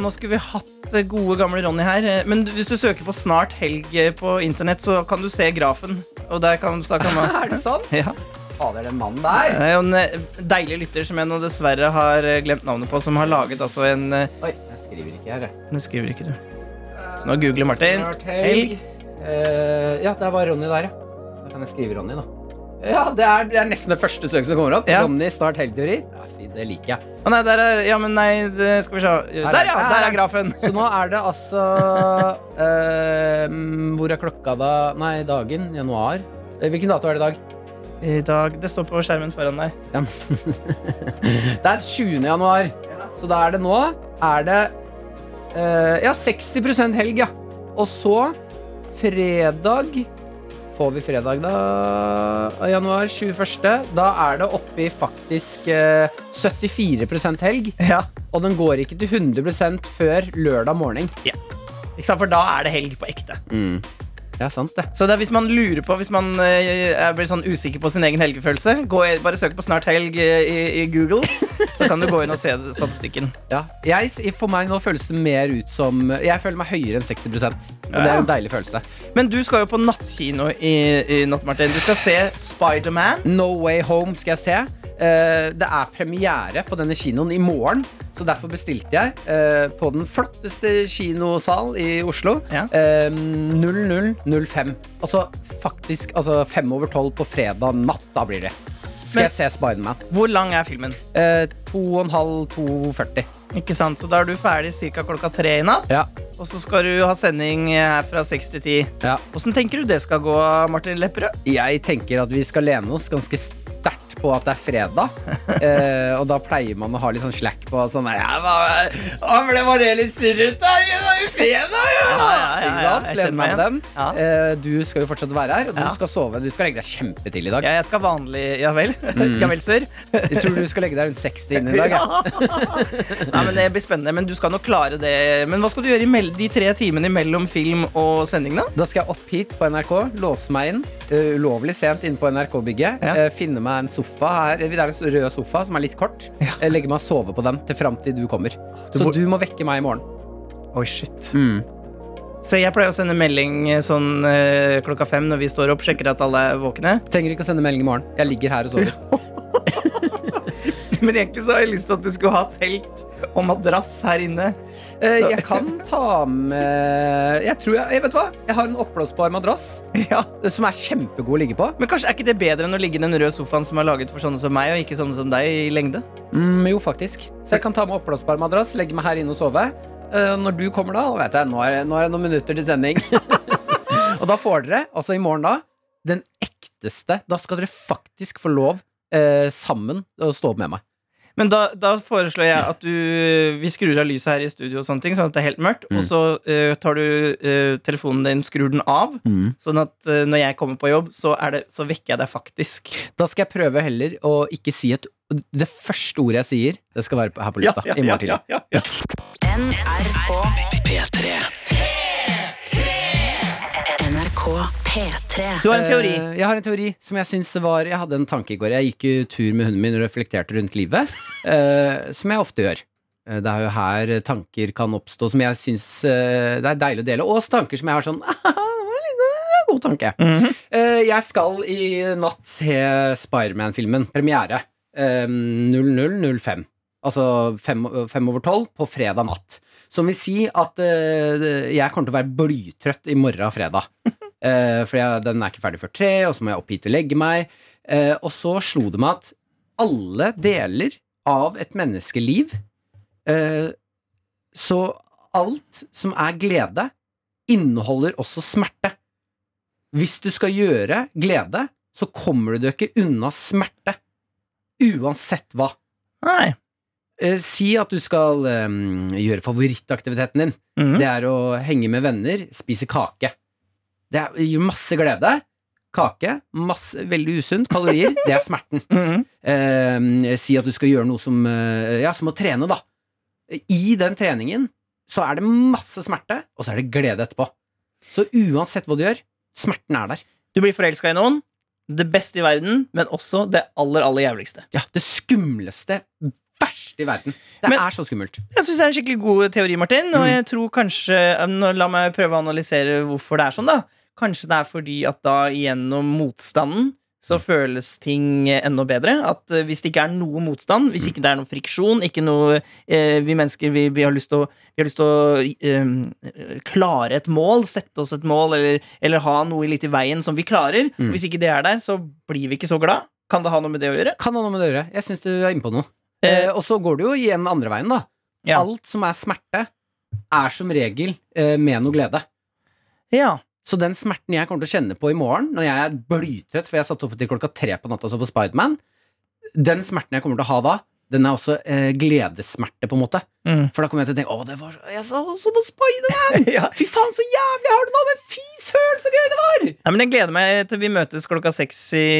S5: nå skulle vi hatt eh, gode, gamle Ronny her. eh, Men du- hvis du søker på Snart helg eh, på internett, så kan du se grafen. Og der kan, da kan man
S4: Er det sant?
S5: ja.
S4: Fader, den mannen der.
S5: Det er jo en eh, deilig lytter som jeg nå dessverre har eh, glemt navnet på, som har laget altså en eh,
S4: Oi, jeg skriver ikke her. jeg.
S5: Nå skriver ikke du. Så nå googler Martin.
S4: Snart helg. Eh, ja, der var Ronny der, ja. Da kan jeg skrive Ronny, da. Ja, det er, det er nesten det første søket som kommer opp.
S5: Ja.
S4: Ronny, start helgteori. Ja, fy, det liker jeg.
S5: Å nei, der er Ja, men nei, det, skal vi se. Der, ja! Der er grafen.
S4: Så nå er det altså eh, Hvor er klokka da? Nei, dagen. Januar. Eh, Hvilken dato er det i dag?
S5: I dag Det står på skjermen foran deg.
S4: Ja. Det er 20. januar, så da er det nå er det eh, Ja, 60 helg, ja. Og så fredag Får vi fredag, da? av Januar 21. Da er det oppe i faktisk eh, 74 helg.
S5: Ja.
S4: Og den går ikke til 100 før lørdag morgen.
S5: Ikke sant, For da er det helg på ekte.
S4: Det er sant, det.
S5: Så det er hvis man lurer på Hvis man eh, er- blir sånn usikker på sin egen helgefølelse, gå, i- bare søk på Snart helg eh, i, i Google, så kan du gå inn og se statistikken.
S4: Ja. Jeg, for meg nå føles det mer ut som Jeg føler meg høyere enn 60 Og det er en deilig følelse.
S5: Men du skal jo på nattkino i, i natt, Martin. Du skal se Spiderman.
S4: No Way Home skal jeg se. Eh, det er premiere på denne kinoen i morgen, så derfor bestilte jeg eh, på den flotteste kinosal i Oslo.
S5: Ja.
S4: Eh, 0005. Altså faktisk altså fem over tolv på fredag natt, da blir det. Skal
S5: Men-
S4: jeg se Spiderman.
S5: Hvor lang er filmen?
S4: Uh, 2,5-2,40.
S5: Ikke sant, Så da er du ferdig ca. klokka tre i natt.
S4: Ja.
S5: Og så skal du ha sending eh, her fra 6 til 10.
S4: Ja.
S5: Åssen tenker du det skal gå, Martin Lepperød?
S4: Jeg tenker at vi skal lene oss ganske sterkt på at det er fredag. Eh, og da pleier man å ha litt sånn slack på sånn der, ja, hva- Å, ble bare litt surret der, det var jo fredag, ja!
S5: Ja, ja, ja,
S4: Ikke
S5: ja,
S4: sant?
S5: jeg
S4: Lener
S5: kjenner
S4: meg
S5: meg
S4: på den.
S5: Ja.
S4: Eh, du skal jo fortsatt være her, og du
S5: Ja.
S4: skal sove. Du skal legge deg kjempetidlig i dag.
S5: Ja, jeg skal vanlig Ja vel? Ja vel, sør?
S4: Jeg tror du skal legge deg rundt 60 inn Mm. i dag. Ja.
S5: Nei, men Det blir spennende, men du skal nok klare det. Men hva skal du gjøre i mell- de tre timene mellom film og sending, da?
S4: Da skal jeg opp hit på NRK, låse meg inn, eh, ulovlig sent inne på NRK-bygget.
S5: Ja.
S4: eh, finne meg en sofa her, Eh, det er en rød sofa som er litt kort. Eh, legge meg og sove på den til fram til du kommer. Så
S5: hvor-
S4: du må vekke meg i morgen.
S5: Oi, shit.
S4: Mm.
S5: Så jeg pleier å sende melding eh, sånn eh, klokka fem når vi står opp, sjekker at alle er våkne.
S4: Trenger ikke å sende melding i morgen. Jeg ligger her og sover.
S5: Men egentlig så har jeg lyst til at du skulle ha telt og madrass her inne.
S4: Eh,
S5: Så-
S4: jeg kan ta med Jeg tror jeg, jeg Vet du hva? Jeg har en oppblåsbar madrass
S5: Ja.
S4: eh, som er kjempegod å ligge på.
S5: Men kanskje er ikke det bedre enn å ligge i den røde sofaen som er laget for sånne som meg, og ikke sånne som deg i lengde?
S4: Mm, jo, faktisk. Så jeg kan ta med oppblåsbar madrass, legge meg her inne og sove. Eh, når du kommer, da og vet jeg, nå, er, nå er det noen minutter til sending. og da får dere, altså i morgen, da, den ekteste. Da skal dere faktisk få lov eh, sammen å stå opp med meg.
S5: Men da, da foreslår jeg at du Vi skrur av lyset her i studio, og sånne ting sånn at det er helt mørkt.
S4: Mm.
S5: Og så eh, tar du eh, telefonen din, skrur den av, sånn at eh, når jeg kommer på jobb, så, er det, så vekker jeg deg faktisk.
S4: Da skal jeg prøve heller å ikke si et Det første ordet jeg sier, det skal være på- her på lufta i morgen tidlig.
S5: ja, ja. Du har en teori.
S4: Eh, Jeg har en teori som jeg syns var Jeg hadde en tanke i går. Jeg gikk jo tur med hunden min og reflekterte rundt livet, eh, som jeg ofte gjør. Eh, Det er jo her tanker kan oppstå som jeg syns eh, det er deilig å dele. Og også tanker som jeg har sånn «Ah, det var litt- det var en God tanke. Eh, Jeg skal i natt se Spiderman-filmen. Premiere eh, 00.05. Altså fem, fem over tolv på fredag natt. Som vil si at eh, jeg kommer til å være blytrøtt i morgen fredag. Eh, for jeg, den er ikke ferdig før tre, og så må jeg opp hit og legge meg. Eh, og så slo det meg at alle deler av et menneskeliv eh, Så alt som er glede, inneholder også smerte. Hvis du skal gjøre glede, så kommer du deg ikke unna smerte. Uansett hva.
S5: Nei.
S4: Eh, si at du skal eh, gjøre favorittaktiviteten din.
S5: Mhm.
S4: Det er å henge med venner, spise kake. Det er- gir masse glede. Kake, masse, veldig usunt, kalorier, det er smerten.
S5: Mhm.
S4: Eh, si at du skal gjøre noe som eh, Ja, som å trene, da. I den treningen så er det masse smerte, og så er det glede etterpå. Så uansett hva du gjør, smerten er der.
S5: Du blir forelska i noen. Det beste i verden, men også det aller, aller jævligste.
S4: Ja, Det skumleste, verste i verden. Det
S5: Men-
S4: er så skummelt.
S5: Jeg synes det er en skikkelig god teori, Martin.
S4: Mm.
S5: Og jeg tror kanskje eh, nå La meg prøve å analysere hvorfor det er sånn. da Kanskje det er fordi at da gjennom motstanden så
S4: Mm.
S5: føles ting enda bedre. At eh, Hvis det ikke er noe motstand,
S4: Mm.
S5: hvis ikke det er noe friksjon Ikke noe eh, Vi mennesker vi, vi har lyst til å, vi har lyst til å eh, klare et mål, sette oss et mål, eller, eller ha noe litt i veien som vi klarer.
S4: Mm.
S5: Hvis ikke det er der, så blir vi ikke så glad. Kan det ha noe med det å gjøre?
S4: Kan ha noe med det å gjøre. Jeg syns du er inne på noe.
S5: Eh,
S4: Eh, og så går det jo igjen andre veien, da.
S5: Ja.
S4: Alt som er smerte, er som regel eh, med noe glede.
S5: ja.
S4: Så den smerten jeg kommer til å kjenne på i morgen, når jeg er blytrøtt, for jeg satt oppe til klokka tre på natta og så på Spiderman, den smerten jeg kommer til å ha da, den er også eh, gledessmerte, på en måte.
S5: Mm.
S4: For da kommer jeg til å tenke Å, det var så, jeg så, så på Spiderman!
S5: ja.
S4: Fy faen, så jævlig jeg har det nå! Men fy søren, så gøy det var!
S5: Nei, men Jeg gleder meg til vi møtes klokka seks i,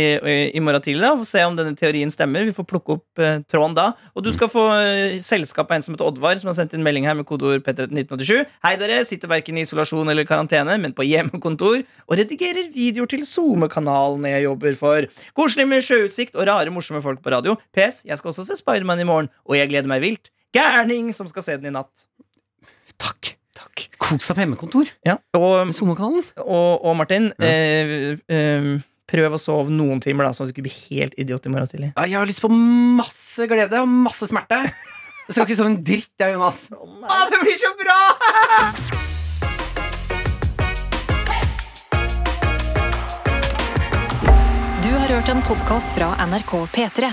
S5: i morgen tidlig. da, og får se om denne teorien stemmer. Vi får plukke opp eh, tråden da. Og du skal få eh, selskap av en som heter Oddvar, som har sendt inn melding her med kodeord P131987. Hei, dere. Sitter verken i isolasjon eller karantene, men på hjemmekontor og redigerer videoer til SoMe-kanalen jeg jobber for. Koselig med sjøutsikt og rare, morsomme folk på radio. PS. Jeg skal også se Spiderman i morgen, og jeg gleder meg vilt. Gærning som skal se den i natt.
S4: Takk. Takk. Kos deg på hjemmekontor.
S5: Og
S4: Med SoMe-kanalen.
S5: Og, og Martin, eh, eh, prøv å sove noen timer, da, så du ikke blir helt idiot i morgen tidlig.
S4: Ja, jeg har lyst på masse glede og masse smerte. Jeg skal ikke sove en dritt, jeg, Jonas. Å, det blir så bra!
S1: Du har hørt en podkast fra NRK P3.